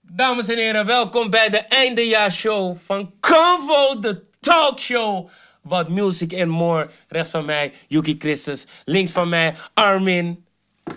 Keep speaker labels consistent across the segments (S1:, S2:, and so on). S1: Dames en heren, welkom bij de eindejaarshow van Convo, de talkshow. Wat music and more. Rechts van mij, Yuki Christus. Links van mij, Armin.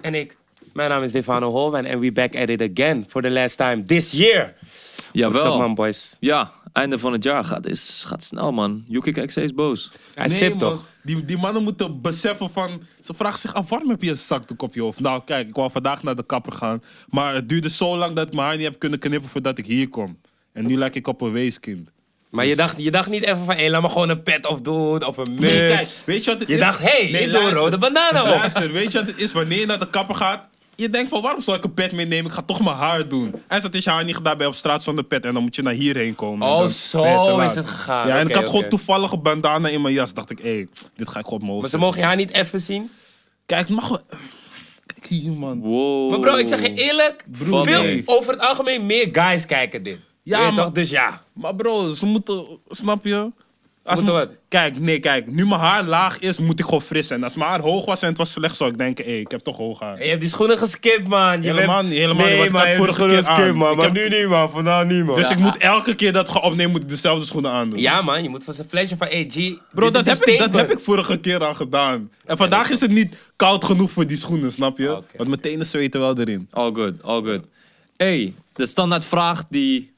S1: En ik. Mijn naam is Stefano Holwijn. En we back at it again for the last time this year. What's up,
S2: Jawel.
S1: man, boys?
S2: Ja, einde van het jaar gaat, is, gaat snel, man. Yuki XC is boos.
S1: Hij
S3: nee,
S1: sipt
S3: man.
S1: toch?
S3: Die, die mannen moeten beseffen van... Ze vragen zich af, waarom heb je een zakdoek op je hoofd? Nou, kijk, ik wou vandaag naar de kapper gaan. Maar het duurde zo lang dat ik mijn haar niet heb kunnen knippen voordat ik hier kom. En nu lijk ik op een weeskind.
S1: Maar je dacht, je dacht niet even van, hé, laat me gewoon een pet afdoen of een muts.
S3: Nee, kijk, weet je wat het
S1: Je
S3: is?
S1: dacht, hé, ik doe een
S3: luister.
S1: rode bandana op.
S3: Luister, weet je wat het is? Wanneer je naar de kapper gaat... Je denkt van, waarom zal ik een pet meenemen? Ik ga toch mijn haar doen. En dat is je haar niet gedaan bij op straat zonder pet. En dan moet je naar hierheen komen. En
S1: Oh,
S3: dan
S1: zo
S3: ben je te
S1: is
S3: laat.
S1: het gegaan.
S3: Ja, en
S1: Oké,
S3: ik had
S1: oké.
S3: gewoon toevallig een bandana in mijn jas. Dacht ik, hé, dit ga ik gewoon op mijn
S1: Maar ze
S3: hoofd zetten.
S1: mogen je haar niet even zien.
S3: Kijk, mag wel. Kijk hier, man.
S2: Wow.
S1: Maar bro, ik zeg je eerlijk,
S3: Broer,
S1: veel,
S3: nee.
S1: over het algemeen meer guys kijken dit.
S3: Ja,
S1: Ja,
S3: maar-
S1: toch? Dus ja.
S3: Maar bro, ze moeten, snap je? Als
S1: moeten
S3: mijn-
S1: wat?
S3: Kijk, nee, kijk. Nu mijn haar laag is, moet ik gewoon fris zijn. Als mijn haar hoog was en het was slecht, zou ik denken, hé, ik heb toch hoog haar.
S1: En je hebt die schoenen geskipt, man. Je
S3: Helemaal
S1: bent...
S3: niet, helemaal
S1: nee,
S3: niet, want ik
S1: man,
S3: had
S1: je hebt
S3: vorige
S1: die schoenen
S3: keer
S1: geskipt,
S3: aan.
S1: man.
S3: Ik
S1: Maar
S3: heb-
S1: nu niet, man. Vandaag niet, man.
S3: Dus
S1: ja.
S3: ik moet elke keer dat ik ga opnemen, moet ik dezelfde schoenen aandoen.
S1: Ja, man. Je moet van zijn flesje van, hey, G,
S3: Bro,
S1: dit is een
S3: dat heb, ik, dat
S1: statement.
S3: heb ik vorige keer al gedaan. En vandaag is het niet koud genoeg voor die schoenen, snap je?
S1: Ah, oké.
S3: Want mijn tenen zweten wel erin.
S2: All good, all good. Hey, de standaardvraag die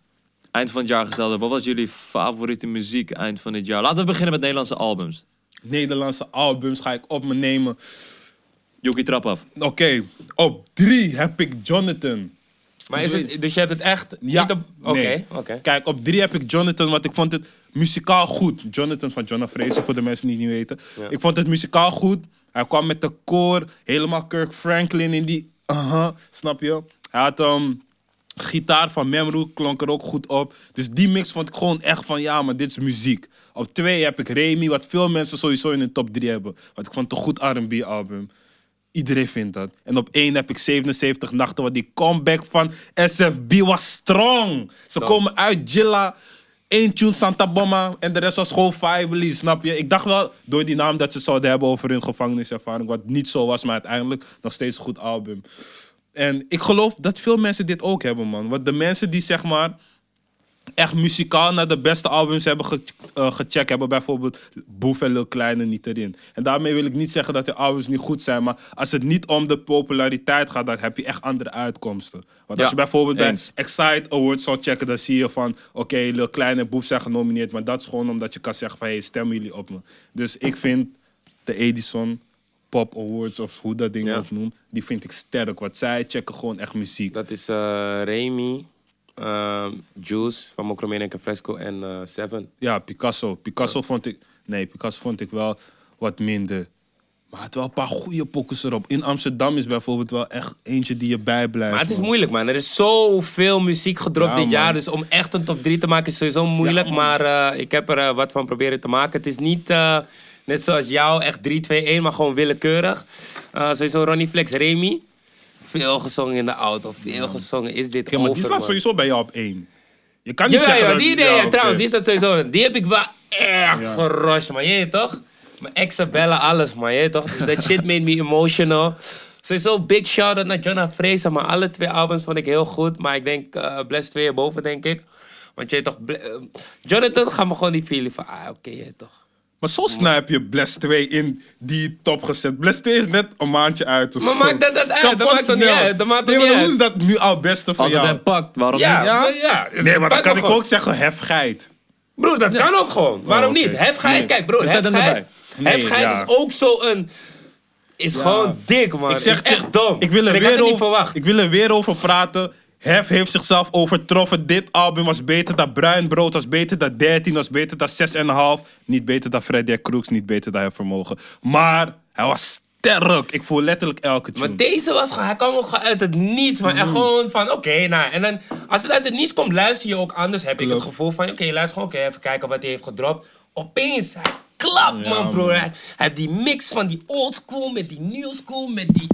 S2: eind van het jaar gesteld werd. Wat was jullie favoriete muziek eind van dit jaar? Laten we beginnen met Nederlandse albums.
S3: Nederlandse albums ga ik op me nemen.
S2: Yuki, trap af.
S3: Oké, op drie heb ik Jonathan.
S1: Maar is het, dus je hebt het echt...
S3: Ja.
S1: niet op- Oké,
S3: nee.
S1: oké.
S3: Kijk, op drie heb ik Jonathan, want ik vond het muzikaal goed. Jonathan van Jonah Fraser, voor de mensen die het niet weten.
S1: Ja.
S3: Ik vond het muzikaal goed. Hij kwam met de koor, helemaal Kirk Franklin in die... aha, snap je? Hij had ehm, gitaar van Memroe, klonk er ook goed op. Dus die mix vond ik gewoon echt van, ja, maar dit is muziek. Op twee heb ik Remy, wat veel mensen sowieso in de top drie hebben. Want ik vond het een goed R&B album. Iedereen vindt dat. En op één heb ik 77 nachten, want die comeback van SFB was strong. Ze komen uit Jilla, één tune Santa Bomba en de rest was gewoon Fively, snap je? Ik dacht wel door die naam dat ze zouden hebben over hun gevangeniservaring, wat niet zo was, maar uiteindelijk nog steeds een goed album. En ik geloof dat veel mensen dit ook hebben, man. Want de mensen die zeg maar echt muzikaal naar de beste albums hebben ge- eh, gecheckt. Hebben bijvoorbeeld Boef en Lil Kleine niet erin. En daarmee wil ik niet zeggen dat de albums niet goed zijn. Maar als het niet om de populariteit gaat, dan heb je echt andere uitkomsten. Want
S2: Ja,
S3: als je bijvoorbeeld
S2: eens.
S3: bij Excite Awards zou checken, dan zie je van... Oké, Lil Kleine en Boef zijn genomineerd. Maar dat is gewoon omdat je kan zeggen van... Hey, stemmen jullie op me. Dus ik vind de Edison... Pop Awards of hoe dat ding
S1: Ja.
S3: ook noemt, die vind ik sterk. Want zij checken gewoon echt muziek.
S1: Dat is eh Remy, ehm, Juice van Mocromania en Fresco en eh, Seven.
S3: Ja, Picasso. Picasso vond ik. Nee, Picasso vond ik wel wat minder. Maar het wel een paar goede pokkers erop. In Amsterdam is bijvoorbeeld wel echt eentje die je bijblijft.
S1: Maar het is
S3: man.
S1: moeilijk, man. Er is zoveel muziek gedropt
S3: Ja,
S1: dit
S3: man.
S1: jaar. Dus om echt een top 3 te maken is sowieso moeilijk. maar eh, ik heb er eh, wat van proberen te maken. Het is niet eh, net zoals jou, echt 3, 2, 1, maar gewoon willekeurig. Eh, sowieso Ronnie Flex, Remy. Veel gezongen in de auto, veel gezongen. Is dit
S3: Oké, maar die
S1: over,
S3: staat
S1: man.
S3: sowieso bij jou op één. Je kan niet
S1: Jawel,
S3: zeggen
S1: jawel, die,
S3: dat...
S1: nee,
S3: ja,
S1: ja,
S3: oké.
S1: trouwens, die staat sowieso. Die heb ik wel echt
S3: Ja.
S1: gerusht, man. Je weet toch? Mijn exen bellen alles, man. Je weet toch? Dus That shit made me emotional. Sowieso big shout-out naar Jonah Fraser, maar alle twee albums vond ik heel goed. Maar ik denk eh Blessed 2 boven, denk ik. Want je weet toch... Ble- eh, Jonathan gaat me gewoon die feeling van... Ah, oké, je weet toch.
S3: Maar zo snel heb je Bless 2 in die top gezet. Bless 2 is net een maandje uit of
S1: Maar
S3: zo.
S1: maakt dat- dat uit? Dat
S3: Kapot
S1: maakt toch niet
S3: snel.
S1: uit? Dat maakt toch
S3: Nee, maar
S1: niet
S3: hoe is dat nu al beste van
S2: Als het
S3: jou?
S2: hem pakt, waarom
S1: Ja,
S2: niet?
S1: ja. ja.
S3: Nee, maar dan
S1: Pak
S3: kan
S1: me
S3: ik
S1: gewoon.
S3: ook zeggen hefgeit.
S1: Broer, dat kan ook gewoon. Waarom
S3: Oh, oké.
S1: niet? Hefgeit,
S3: Nee.
S1: kijk broer,
S2: Zet hem
S1: hefgeit,
S2: erbij.
S3: Nee,
S1: hefgeit
S3: ja.
S1: is ook zo'n... Is gewoon dik, man.
S3: Ik zeg
S1: is echt
S3: je,
S1: dom.
S3: Ik wil, er
S1: had
S3: weer
S1: het niet
S3: over,
S1: verwacht.
S3: ik wil er weer over praten. Hef heeft zichzelf overtroffen. Dit album was beter dan Bruin Brood, was beter dan 13, was beter dan 6,5. Niet beter dan Freddy en Crooks, niet beter dan Vermogen. Maar hij was sterk. Ik voel letterlijk elke tune.
S1: Maar deze was gewoon, hij kwam ook gewoon uit het niets, maar
S3: Mhm.
S1: echt gewoon van, oké, nou. En dan, als het uit het niets komt, luister je ook anders. Heb ik het
S3: Klopt.
S1: gevoel van, oké, luister gewoon, oké, even kijken wat hij heeft gedropt. Opeens, hij klapt, man, broer. Hij, hij heeft die mix van die old school met die new school, met die,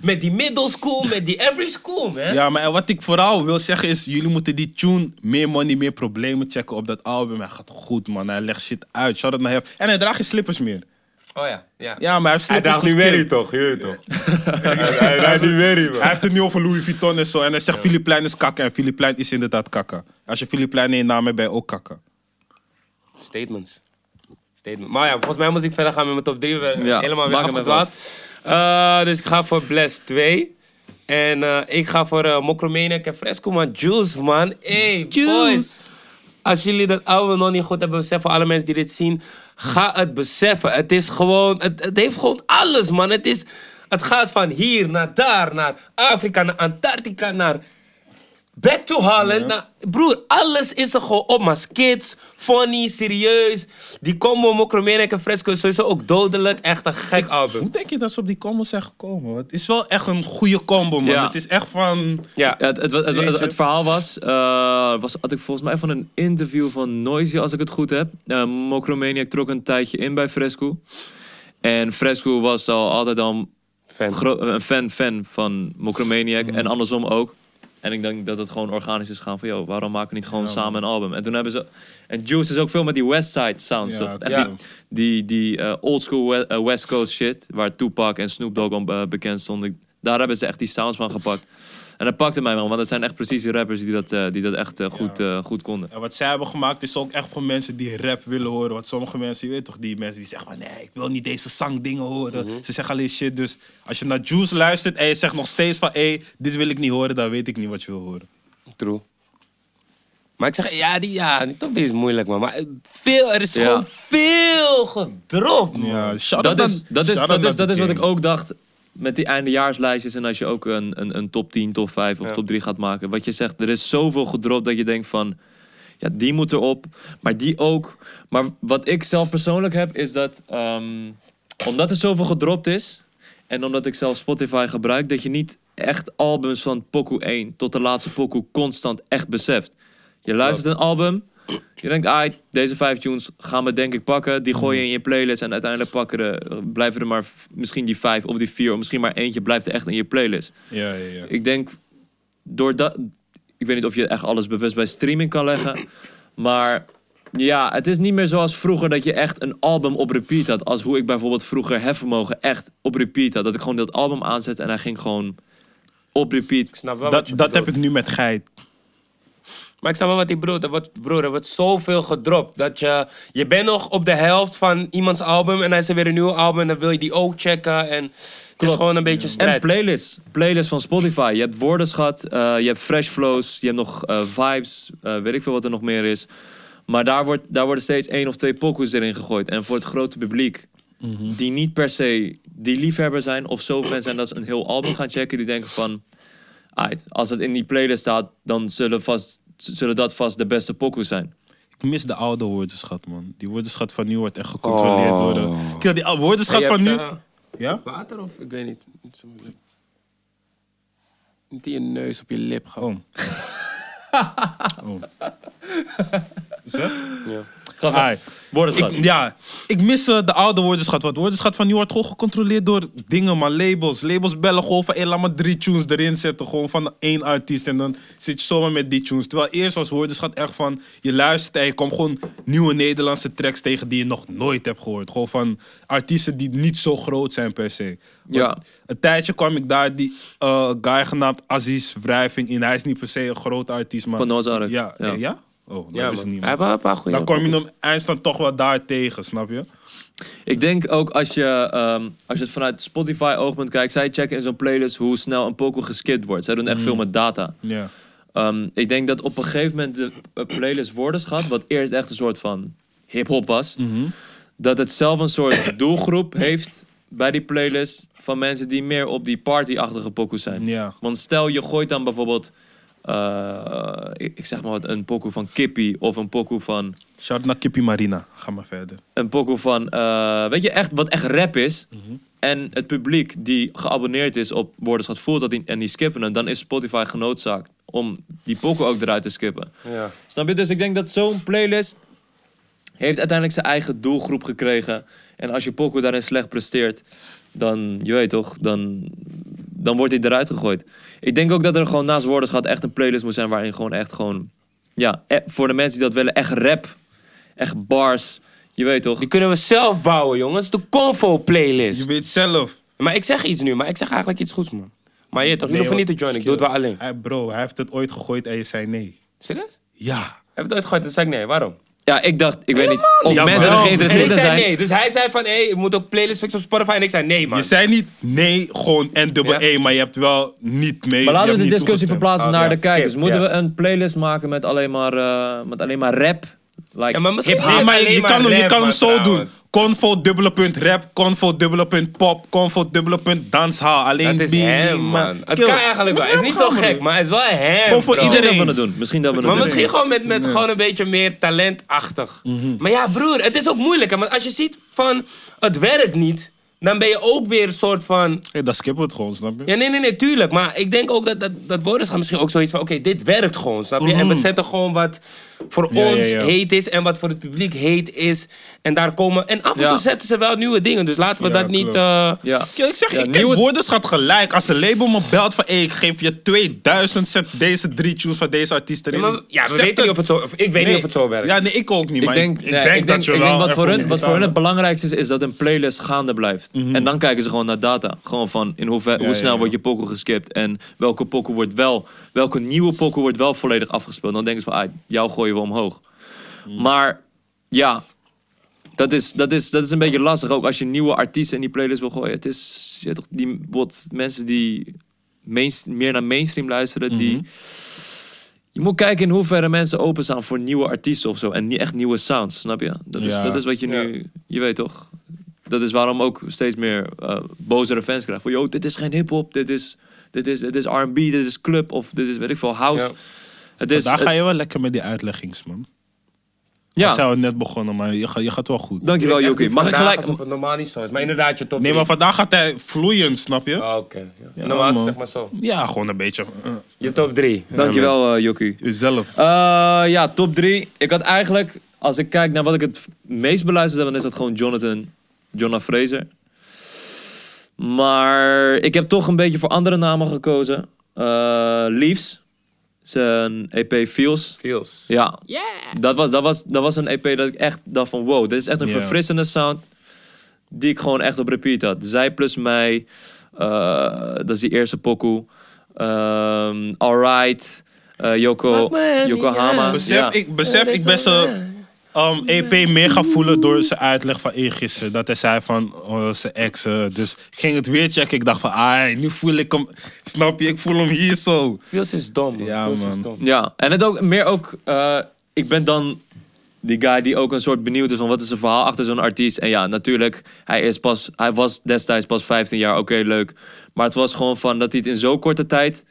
S1: met die middle school, met die every school, man.
S3: Ja, maar wat ik vooral wil zeggen is, jullie moeten die tune meer money, meer problemen checken op dat album. Hij gaat goed, man. Hij legt shit uit. Shout out naar Hef. En hij draagt geen slippers meer.
S1: Oh ja, ja.
S3: Ja, maar hij heeft
S4: Hij
S3: slippers
S4: dacht, nu
S3: geskipt.
S4: weet je toch, je weet toch. Hij- Hij dacht, nu weet je,
S3: Hij
S4: man.
S3: heeft het nu over Louis Vuitton en zo. En hij zegt Filipijn is kakken. En Filipijn is inderdaad kakken. Als je Filipijn in je naam hebt, ben je ook kakken.
S1: Statements. Statement. Maar ja, volgens mij moet ik verder gaan met mijn top 3. We zijn
S2: Ja,
S1: helemaal weer
S2: maak hem even
S1: afgedwaald. Eh, dus ik ga voor Bless 2. En eh, ik ga voor eh Mokromania Fresco, man. Juice, man. Hey, boys. Als jullie dat oude nog niet goed hebben beseft, voor alle mensen die dit zien, ga het beseffen. Het is gewoon, het, het heeft gewoon alles, man. Het, is, het gaat van hier naar daar, naar Afrika, naar Antarctica, naar Back to Holland. Nou, broer, alles is er gewoon op. Maar skits, funny, serieus. Die combo Mokromaniac en Fresco is sowieso ook dodelijk. Echt een gek album.
S3: Hoe denk je dat ze op die combo zijn gekomen? Want het is wel echt een goede combo, man.
S2: Ja.
S3: Het is echt van...
S1: Ja.
S2: Ja, het, het, het, het- het-
S3: Jeetje.
S2: het verhaal was, eh, was, had ik volgens mij van een interview van Noisy, als ik het goed heb. Eh Mokromaniac trok een tijdje in bij Fresco. En Fresco was al altijd al
S1: Fan.
S2: gro- eh, een fan, fan van Mokromaniac
S3: Mm.
S2: en andersom ook. En ik denk dat het gewoon organisch is gaan van, joh, waarom maken we niet gewoon samen een album? En toen hebben ze... En Juice is ook veel met die West Side sounds,
S3: Ja,
S2: toch?
S3: klopt.
S2: Echt
S3: Ja.
S2: die, die, die eh, old school we- eh, West Coast shit, waar Tupac en Snoop Dogg om eh, bekend stonden. Daar hebben ze echt die sounds van gepakt. En dat pakte mij wel, want dat zijn echt precies die rappers die dat, eh, die dat echt eh, goed, eh, goed konden.
S3: En wat zij hebben gemaakt is ook echt voor mensen die rap willen horen. Want sommige mensen, je weet toch, die mensen die zeggen van... Nee, ik wil niet deze zangdingen horen.
S2: Mhm.
S3: Ze zeggen alleen shit. Dus als je naar Juice luistert en je zegt nog steeds van... Hé, dit wil ik niet horen, dan weet ik niet wat je wil horen.
S1: True. Maar ik zeg, ja, die, ja, die top 3 is moeilijk, man. Maar veel, er is
S2: Ja.
S1: gewoon veel gedropt, man.
S3: Ja, shout
S2: Dat
S3: out
S2: is,
S3: aan-
S2: dat is,
S3: shout
S2: dat
S3: out
S2: is,
S3: aan
S2: dat is wat
S3: die
S2: ik ook dacht met die eindejaarslijstjes. En als je ook een, een, een top 10, top 5 of top 3 gaat maken. Wat je zegt, er is zoveel gedropt dat je denkt van... Ja, die moet erop, maar die ook. Maar wat ik zelf persoonlijk heb, is dat... ehm, omdat er zoveel gedropt is... En omdat ik zelf Spotify gebruik, dat je niet echt albums van pokoe 1 tot de laatste pokoe constant echt beseft. Je luistert een album, je denkt, ah, deze vijf tunes gaan we denk ik pakken. Die gooi je in je playlist en uiteindelijk pakken er, blijven er maar v- misschien die vijf of die vier of misschien maar eentje blijft er echt in je playlist.
S3: game. Ja, ja, ja.
S2: Ik denk, door dat, ik weet niet of je echt alles bewust bij streaming kan leggen, maar ja, het is niet meer zoals vroeger dat je echt een album op repeat had. Als hoe ik bijvoorbeeld vroeger Hefvermogen echt op repeat had. Dat ik gewoon dat album aanzet en hij ging gewoon op repeat.
S1: Ik snap wel wat
S3: Dat,
S1: je
S3: dat
S1: bedoelt.
S3: heb ik nu met Geit.
S1: Maar ik snap wel wat die broer, er wordt, broer, er wordt zoveel gedropt. Dat je, je bent nog op de helft van iemands album en hij is er weer een nieuw album en dan wil je die ook checken. En het is
S2: Klopt.
S1: gewoon een beetje
S2: En
S1: strijd.
S2: playlists. Playlists van Spotify. Je hebt woordenschat, eh, je hebt fresh flows, je hebt nog eh, vibes, eh, weet ik veel wat er nog meer is. Maar daar, wordt, daar worden steeds één of twee pokus erin gegooid. En voor het grote publiek, die niet per se die liefhebber zijn of zo fan zijn dat ze een heel album gaan checken, die denken van, "Aight, als het in die playlist staat, dan zullen, vast, zullen dat vast de beste pokus zijn.
S3: Ik mis de oude woordenschat, man. Die woordenschat van nu wordt echt gecontroleerd
S2: Oh.
S3: door de... Kill, die oude woordenschat
S1: Je
S3: van nu...
S1: hebt, eh,
S3: Ja?
S1: Water of ik weet niet. Niet in je neus, op je lip gewoon.
S3: Oh. oh. Is dat?
S1: Ja.
S3: Ai.
S2: Woordenschat.
S3: Ik, ja, ik mis eh, de oude woordenschat. Want de woordenschat van nu wordt gewoon gecontroleerd door dingen, man. Labels. Labels bellen gewoon van, hé, laat maar drie tunes erin zetten. Gewoon van één artiest. En dan zit je zomaar met die tunes. Terwijl eerst was woordenschat echt van, je luistert en je komt gewoon nieuwe Nederlandse tracks tegen die je nog nooit hebt gehoord. Gewoon van artiesten die niet zo groot zijn per se.
S2: Ja.
S3: Een tijdje kwam ik daar die eh, guy genaamd Aziz Wrijving in. Hij is niet per se een groot artiest, maar...
S2: Van Noah's Ark.
S3: Ja.
S2: Ja.
S3: Ja? ja? Oh,
S1: Ja,
S3: dat
S1: man.
S3: is het niet,
S1: Hij heeft
S3: man.
S1: wel een paar goede
S3: Dan kom je hem eindstand toch wel daar tegen, snap je?
S2: Ik denk ook als je, ehm, als je het vanuit Spotify oogpunt kijkt, zij checken in zo'n playlist hoe snel een pokoe geskipt wordt. Zij doen echt veel met data.
S3: Ja.
S2: Ehm, ik denk dat op een gegeven moment de eh, playlist woordenschat, wat eerst echt een soort van hip-hop was, dat het zelf een soort doelgroep heeft bij die playlist van mensen die meer op die partyachtige pokoes zijn.
S3: Ja.
S2: Want stel je gooit dan bijvoorbeeld, eh, ik, ik zeg maar wat, een pokoe van Kippie of een pokoe van
S3: Shout naar Kippie Marina. Ga maar verder.
S2: een pokoe van, eh, weet je, echt, wat echt rap is. En het publiek die geabonneerd is op Woordenschat voelt dat die, en die skippen hem, dan is Spotify genoodzaakt om die pokoe ook eruit te skippen.
S1: Ja.
S2: Snap je? Dus ik denk dat zo'n playlist heeft uiteindelijk zijn eigen doelgroep gekregen. En als je pokoe daarin slecht presteert, dan, je weet toch, dan, dan wordt hij eruit gegooid. Ik denk ook dat er gewoon naast Woordenschat echt een playlist moet zijn waarin gewoon echt gewoon... Ja, e- voor de mensen die dat willen, echt rap. Echt bars. Je weet toch?
S1: Die kunnen we zelf bouwen, jongens. De Convo-playlist.
S3: Je weet zelf.
S1: Maar ik zeg iets nu, maar ik zeg eigenlijk iets goeds, man. Maar je, weet toch,
S3: Nee,
S1: jullie hoeven
S3: hoor.
S1: niet te joinen, ik doe het wel alleen.
S3: Hey bro, hij heeft het ooit gegooid en je zei nee.
S1: Serieus?
S3: Ja.
S1: Heb je het ooit gegooid? Toen zei ik nee, waarom?
S2: Ja, ik dacht, ik weet niet of
S3: Ja,
S2: mensen
S3: wel.
S1: En
S2: er
S1: Oh, ik
S2: geïnteresseerd in
S1: zei
S2: zijn.
S1: nee, dus hij zei van, hé, hey, je moet ook playlist fixen op Spotify. En ik zei nee, man.
S3: Je zei niet nee, gewoon en dubbel
S1: Ja.
S3: E, maar je hebt wel niet mee.
S2: Maar laten we
S3: je
S2: de
S3: hebt niet
S2: discussie
S3: toegestemd.
S2: verplaatsen
S1: Oh,
S2: naar
S1: ja,
S2: de
S1: skip,
S2: kijkers. Moeten
S1: ja.
S2: we een playlist maken met alleen maar, eh, met alleen maar rap? Like,
S1: Ja, maar misschien
S2: hip-hop.
S3: Nee, maar je,
S1: Alleen
S3: je
S1: maar
S3: kan, hem- je
S1: rap,
S3: kan hem
S1: maar
S3: zo
S1: trouwens.
S3: doen. Convo dubbele punt rap, convo dubbele punt pop, convo dubbele punt danshaal. Alleen
S1: Het is
S3: die-
S1: hem, man. Het kan eigenlijk wel. Het is niet zo gek, maar het is wel hem.
S3: nou Gewoon voor
S1: bro.
S2: Misschien dat
S3: iedereen.
S2: we het doen. Misschien dat we het
S1: Maar
S2: doen.
S1: misschien gewoon met, met gewoon een beetje meer talentachtig.
S3: Mhm.
S1: Maar ja, broer, het is ook moeilijk. hè, Want als je ziet van, het werkt niet, dan ben je ook weer een soort van...
S3: Hey, dan skippen we het gewoon, snap je?
S1: Ja, nee, nee, nee, tuurlijk. Maar ik denk ook dat, dat, dat woorden gaan misschien ook zoiets van... Oké, dit werkt gewoon, snap je? En we zetten gewoon wat voor
S3: Mhm. Ja,
S1: ons
S3: ja, ja.
S1: heet is... en wat voor het publiek heet is. En daar komen... En af en
S2: Ja.
S1: toe zetten ze wel nieuwe dingen. Dus laten we
S3: Ja,
S1: dat niet...
S3: klopt.
S1: eh,
S2: Ja.
S3: Ja, ik zeg,
S2: Ja,
S3: ik ken
S2: nieuwe-
S3: woordenschat gelijk. Als een label me belt van, hey, ik geef je 2000, zet deze drie tunes van deze artiest
S1: Ja,
S3: erin.
S1: maar, ja, we
S3: Zet
S1: weten niet of het zo... Of, ik weet niet of het zo werkt.
S3: Ja, nee, ik ook niet.
S2: Ik
S3: maar
S2: denk,
S3: ik,
S2: nee,
S3: denk
S2: ik
S3: dat je
S2: ik
S3: wel
S2: denk wat voor
S3: even
S2: hun, wat voor hun het
S3: moet
S2: belangrijkste is, is dat een playlist gaande blijft. En dan kijken ze gewoon naar data. Gewoon van in hoever, hoe
S3: ja,
S2: snel
S3: ja.
S2: wordt je pokken geskipt en welke pokken wordt wel, welke nieuwe pokken wordt wel volledig afgespeeld. Dan denken ze van, ah, jou gooien we omhoog.
S3: Mhm.
S2: Maar ja, dat is, dat, is, dat is een beetje lastig ook als je nieuwe artiesten in die playlist wil gooien. Het is, je weet toch, die, wat mensen die mainst- meer naar mainstream luisteren,
S3: Mhm.
S2: die... Je moet kijken in hoeverre mensen openstaan voor nieuwe artiesten of zo. En niet echt nieuwe sounds, snap je? Dat is,
S3: Ja.
S2: dat is wat je nu... Je weet toch? Dat is waarom ook steeds meer eh bozere fans krijgen. Van, yo, dit is geen hiphop. Dit is, dit is, dit is R&B. Dit is club. Of dit is, weet ik veel, house.
S1: Ja.
S2: Het is...
S3: Daar
S2: het-
S3: ga je wel lekker met die uitleggings, man. We
S2: ja,
S3: zijn net begonnen, maar je, gaat- je gaat wel goed.
S2: dankjewel, Jokie. Mag ik
S1: Vandaag
S2: gelijk...
S1: Alsof het normaal niet zo is. Maar inderdaad, je top
S3: Nee, maar
S1: drie.
S3: vandaag gaat hij vloeien, snap je?
S1: Oh, Oké. ja. normaal
S3: man.
S1: zeg maar zo.
S3: Ja, gewoon een beetje. eh,
S1: Je top drie.
S2: Dankjewel, eh Jokie.
S3: jezelf.
S2: Eh, ja, top 3. Ik had eigenlijk, als ik kijk naar wat ik het meest beluisterd heb, dan is dat gewoon Jonathan, Jonah Fraser. Maar ik heb toch een beetje voor andere namen gekozen. Eh Leaves, zijn E EP Feels.
S1: Feels.
S2: Ja, dat, was, dat, was, dat was een EP dat ik echt dacht van wow, dit is echt een
S3: Ja.
S2: verfrissende sound die ik gewoon echt op repeat had. Zij plus mij, eh, dat is die eerste pokoe. Ehm Alright, eh, Yoko,
S1: Maakt me niet
S2: Yokohama.
S1: uit.
S3: Besef,
S2: ja.
S3: ik, besef ik ben zijn um, EP meer gaan voelen door zijn uitleg van eergisteren. Dat hij zei van oh, zijn ex. eh, dus ik ging het weer checken. Ik dacht van, ai, nu voel ik hem. Snap je? Ik voel hem hier zo.
S1: Feels is dom. man.
S3: Ja,
S1: Feels
S3: man.
S1: is dom.
S2: Ja, en het ook meer ook. eh, ik ben dan die guy die ook een soort benieuwd is van wat is het verhaal achter zo'n artiest. En ja, natuurlijk, hij, is pas, hij was destijds pas 15 jaar, oké, leuk. Maar het was gewoon van dat hij het in zo'n korte tijd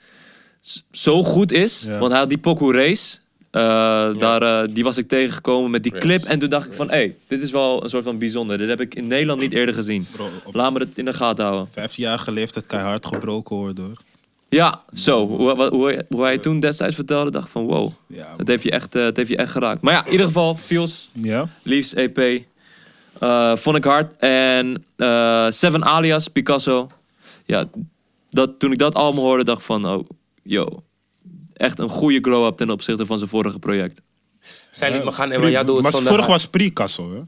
S2: s- zo goed is.
S3: Ja.
S2: Want hij had die Poku Race. eh, daar, eh, die was ik tegengekomen met die clip. En toen dacht ik van, hé, hey, dit is wel een soort van bijzonder. Dit heb ik in Nederland niet eerder gezien.
S3: Bro, op-
S2: Laat me het in de gaten houden.
S3: Vijfjarige leeftijd keihard gebroken worden hoor.
S2: Ja, zo. Hoe, hoe, hoe, hoe hij toen destijds vertelde, dacht ik van wow.
S3: Ja,
S2: dat,
S3: man.
S2: heeft je echt, eh, dat heeft je echt geraakt. Maar ja, in ieder geval, Feels,
S3: Ja?
S2: Leaves EP, eh, vond ik hard. En eh, Seven Alias, Picasso. Ja, dat, toen ik dat allemaal hoorde, dacht ik van oh, yo. Echt een goede glow-up ten opzichte van zijn vorige project.
S1: Zij liet me gaan en
S3: Pre-
S1: jij doet
S3: maar
S1: het
S3: zijn
S1: zonder...
S3: vorig was Prikasso, hè?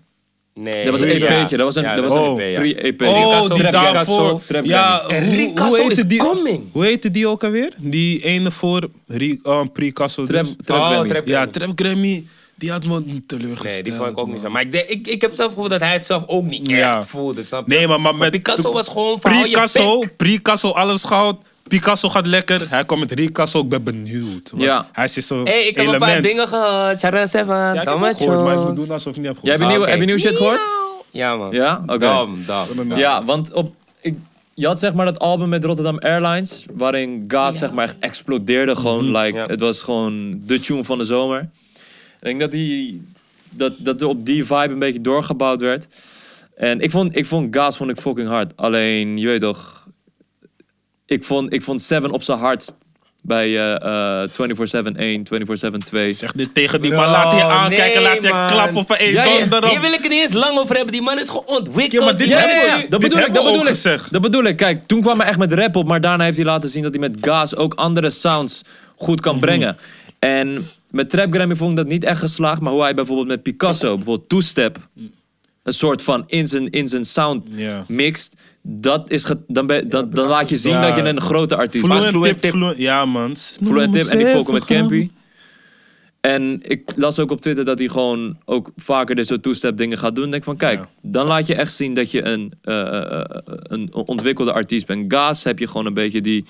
S1: Nee. E
S2: Dat was een
S1: ja.
S2: EP'tje, dat was een,
S1: Ja,
S2: dat was
S1: dat
S2: een E
S1: was een EP, ja.
S2: pre-EP.
S3: Oh,
S1: Picasso,
S3: die
S1: Trap Picasso,
S3: daarvoor.
S2: Trap
S3: Ja,
S1: Gang. En
S3: hoe-
S1: Ricasso
S3: hoe heette
S1: is
S3: die,
S1: coming.
S3: Hoe heette die ook alweer? Die ene voor Ri- eh, Prikasso. dus.
S2: Trap, trap
S1: Oh,
S2: Grammy.
S1: Trap-
S3: Ja, Trap Grammy. Die had me teleurgesteld.
S1: Nee, die vond ik ook niet
S3: man.
S1: zo. Maar ik, denk, ik, ik heb zelf gevoeld dat hij het zelf ook niet echt
S3: Ja.
S1: voelde, snap je?
S3: Nee, maar, maar met
S1: Picasso
S3: toen-
S1: was gewoon van, hou je
S3: Picasso, Picasso, alles goud. Picasso gaat lekker. Hij komt met Ricasso. Ik ben benieuwd. want
S2: Ja.
S3: Hij is zo'n
S1: Hé, ik heb
S3: element.
S1: een paar dingen gehoord. Sharon Seven,
S3: Ja, ik heb
S1: Tom
S3: ook gehoord, maar ik moet
S1: Jones.
S3: doen alsof ik niet heb
S2: Jij
S3: gehoord.
S2: hebt nieuwe,
S1: oké.
S2: heb je nieuwe shit gehoord?
S1: Ja, man.
S2: Ah, Ja? Oké.
S1: Dam, dam.
S3: Ja.
S2: Ja, want op, ik, je had zeg maar dat album met Rotterdam Airlines, waarin Gaas zeg maar echt explodeerde gewoon. like,
S1: Ja.
S2: Het was gewoon de tune van de zomer. Ik denk dat, die, dat, dat er op die vibe een beetje doorgebouwd werd. En ik vond, ik vond Gaas vond ik fucking hard. Alleen, je weet toch, ik vond, ik vond Seven op zijn hardst bij eh eh 24-7 1, 24-7 2.
S3: Zeg dit tegen die
S1: Bro,
S3: man. Laat je aankijken.
S1: Oh, nee,
S3: laat je
S1: man.
S3: klappen van één
S2: Ja, ja.
S3: donder
S1: Hier
S3: op.
S1: wil ik het niet eens lang over hebben. Die man is gewoon ontwikkeld.
S3: Ja, maar
S1: Die
S3: dit
S2: Ja,
S1: man
S2: ja,
S1: is
S2: ja,
S1: nu-
S2: dat
S3: Dit
S2: bedoel ik,
S3: hebben
S2: dat
S3: we
S2: bedoel
S3: ook
S2: ik.
S3: gezegd.
S2: Dat bedoel ik. Kijk, toen kwam hij echt met rap op, maar daarna heeft hij laten zien dat hij met Gaas ook andere sounds goed kan
S3: Mhm.
S2: brengen. En met Trap Grammy vond ik dat niet echt geslaagd, maar hoe hij bijvoorbeeld met Picasso, bijvoorbeeld Two Step, een soort van in zijn, in zijn sound
S3: Mhm. Ja.
S2: mixt, dat is ge- dan, ben, dan, dan laat je zien
S3: Ja.
S2: dat je een grote artiest bent.
S3: Fluent
S1: Fluent
S3: tip,
S1: Tip.
S3: fluent- Ja, man.
S2: Fluent Tip en die poker met Campy. En ik las ook op Twitter dat hij gewoon ook vaker dit soort two-step dingen gaat doen. Denk van, kijk,
S3: Ja.
S2: dan laat je echt zien dat je een, eh, eh, eh, een ontwikkelde artiest bent. Gaas heb je gewoon een beetje die,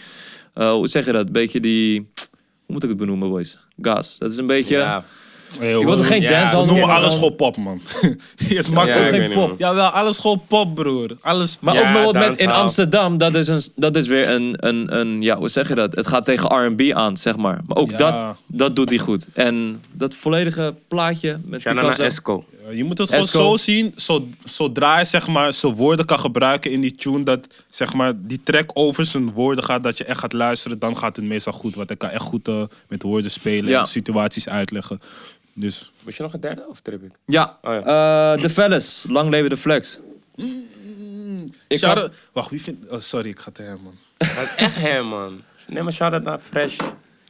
S2: eh, hoe zeg je dat? Een beetje die, hoe moet ik het benoemen, boys? Gaas, dat is een beetje...
S1: Ja.
S3: Ik
S2: wil er geen dance
S3: We
S2: hall
S3: noemen
S2: meer,
S3: alles
S2: man.
S3: gewoon pop, man. is
S2: Ook
S4: ik weet
S3: makkelijk.
S2: geen
S4: niet,
S2: pop.
S4: man.
S3: Jawel, alles gewoon pop, broer. Alles
S2: Maar
S1: Ja,
S2: ook bijvoorbeeld met in
S1: dancehall.
S2: Amsterdam, dat is, een, dat is weer een, een, een, ja, hoe zeg je dat? Het gaat tegen R&B aan, zeg maar. Maar ook
S3: Ja.
S2: dat, dat doet hij goed. En dat volledige plaatje met
S1: Shout out naar
S2: Picasso.
S1: Esco.
S3: Eh, Je moet het gewoon
S2: Esco.
S3: zo zien, zo, zodra hij zeg maar, zijn woorden kan gebruiken in die tune, dat zeg maar, die track over zijn woorden gaat, dat je echt gaat luisteren, dan gaat het meestal goed. Want hij kan echt goed eh, met woorden spelen
S2: Ja.
S3: en situaties uitleggen. Dus
S1: Moest je nog een derde of trip ik?
S2: Ja,
S1: Oh
S2: Eh, de Fellas, lang leven de flex. Ik
S3: Shout
S2: had-
S3: out- Wacht, wie vindt... Oh, sorry, ik ga te hem, man.
S1: Dat is echt hem, man. Neem maar shout-out naar Fresh.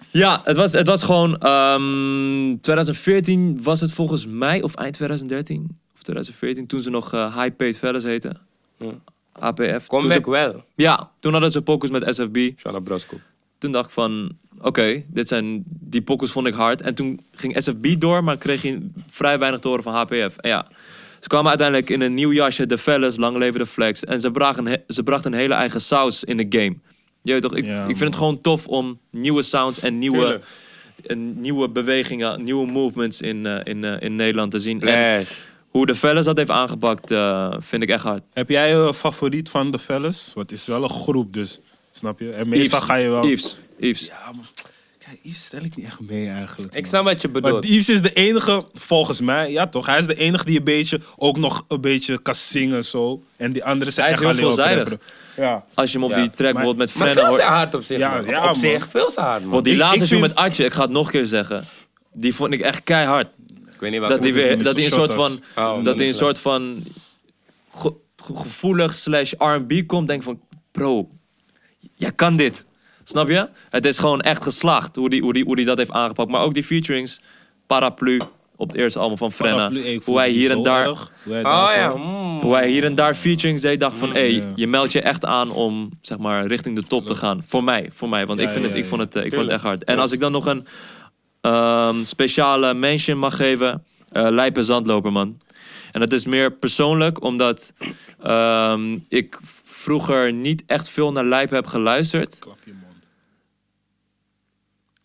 S2: Ja, het was, het was gewoon. ehm, 2014 was het volgens mij, of eind 2013 of 2014, toen ze nog eh, High Paid Fellas heten.
S1: Ja.
S2: APF. Toen
S1: Comeback
S2: ze,
S1: wel.
S2: ja, toen hadden ze pokus met SFB.
S1: Shout out Brasco.
S2: Toen dacht ik van, oké, dit zijn, die pokus vond ik hard. En toen ging SFB door, maar kreeg je vrij weinig te horen van HPF. En ja, ze kwamen uiteindelijk in een nieuw jasje, de fellas, lang leven de flex. En ze brachten, een he- ze brachten een hele eigen saus in de game. Je weet toch, ik,
S3: Ja,
S2: ik vind
S3: man.
S2: het gewoon tof om nieuwe sounds en nieuwe,
S1: Tuurlijk.
S2: en nieuwe bewegingen, nieuwe movements in, eh, in, eh, in Nederland te zien. En
S1: Flash.
S2: hoe de fellas dat heeft aangepakt, eh, vind ik echt hard.
S3: Heb jij een favoriet van de fellas? Want het is wel een groep, dus snap je? En meestal
S2: Yves,
S3: ga je wel...
S2: Yves, Yves.
S3: Ja, man. Kijk, Yves stel ik niet echt mee eigenlijk.
S1: Ik
S3: man.
S1: snap wat je
S3: Maar
S1: bedoelt.
S3: Yves is de enige, volgens mij, ja toch? Hij is de enige die een beetje, ook nog een beetje kan zingen zo. En die anderen zijn
S2: Hij is
S3: echt
S2: heel
S3: alleen maar Oh,
S2: veelzijdig.
S3: rapperen. Ja.
S2: Als je hem op
S1: Ja.
S2: die track
S3: Maar-
S2: bijvoorbeeld met
S1: Maar
S2: Frenna
S1: veel
S2: hoort.
S1: zijn hard op zich,
S3: Ja,
S1: man.
S3: ja,
S1: op
S3: man.
S1: zich, veel zijn hard, man.
S2: Want die
S3: Ik-
S2: laatste
S3: ik
S2: tune
S3: vind-
S2: met Atje, ik ga het nog een keer zeggen. Die vond ik echt keihard.
S1: Ik weet niet wat
S2: Dat
S1: ik
S2: hij
S1: moet
S3: die
S2: weer,
S3: met
S2: dat hij een
S3: zijn
S2: soort
S3: shotters.
S2: van,
S1: Oh, dat
S2: dat hij een
S1: is
S2: soort van ge- ge- gevoelig slash R&B komt. Denk van, bro, jij kan dit. Snap je? Het is gewoon echt geslaagd hoe die, hoe die, hoe die dat heeft aangepakt. Maar ook die featurings, Paraplu op het eerste album van Frenna.
S3: Paraplu, ik
S2: Hoe
S3: vond
S2: hij
S3: die
S2: hier en
S3: zo
S2: daar,
S3: erg. Hoe hij
S1: doen. Oh
S3: daar
S1: ja,
S3: kwam.
S1: mm.
S2: hoe hij hier en daar featurings deed. Dacht van, hé,
S3: ja.
S2: je meldt je echt aan om zeg maar richting de top te gaan. Voor mij, voor mij. Want
S3: Ja,
S2: ik, vind
S3: ja,
S2: het, ik,
S3: ja,
S2: vond
S3: ja.
S2: het, eh, ik vond het
S1: Tuurlijk.
S2: echt hard. En als ik dan nog een ehm, speciale mention mag geven. eh Lijpe Zandloper, man. En dat is meer persoonlijk, omdat ehm, ik vroeger niet echt veel naar Lijpe heb geluisterd.
S3: Klap je mond.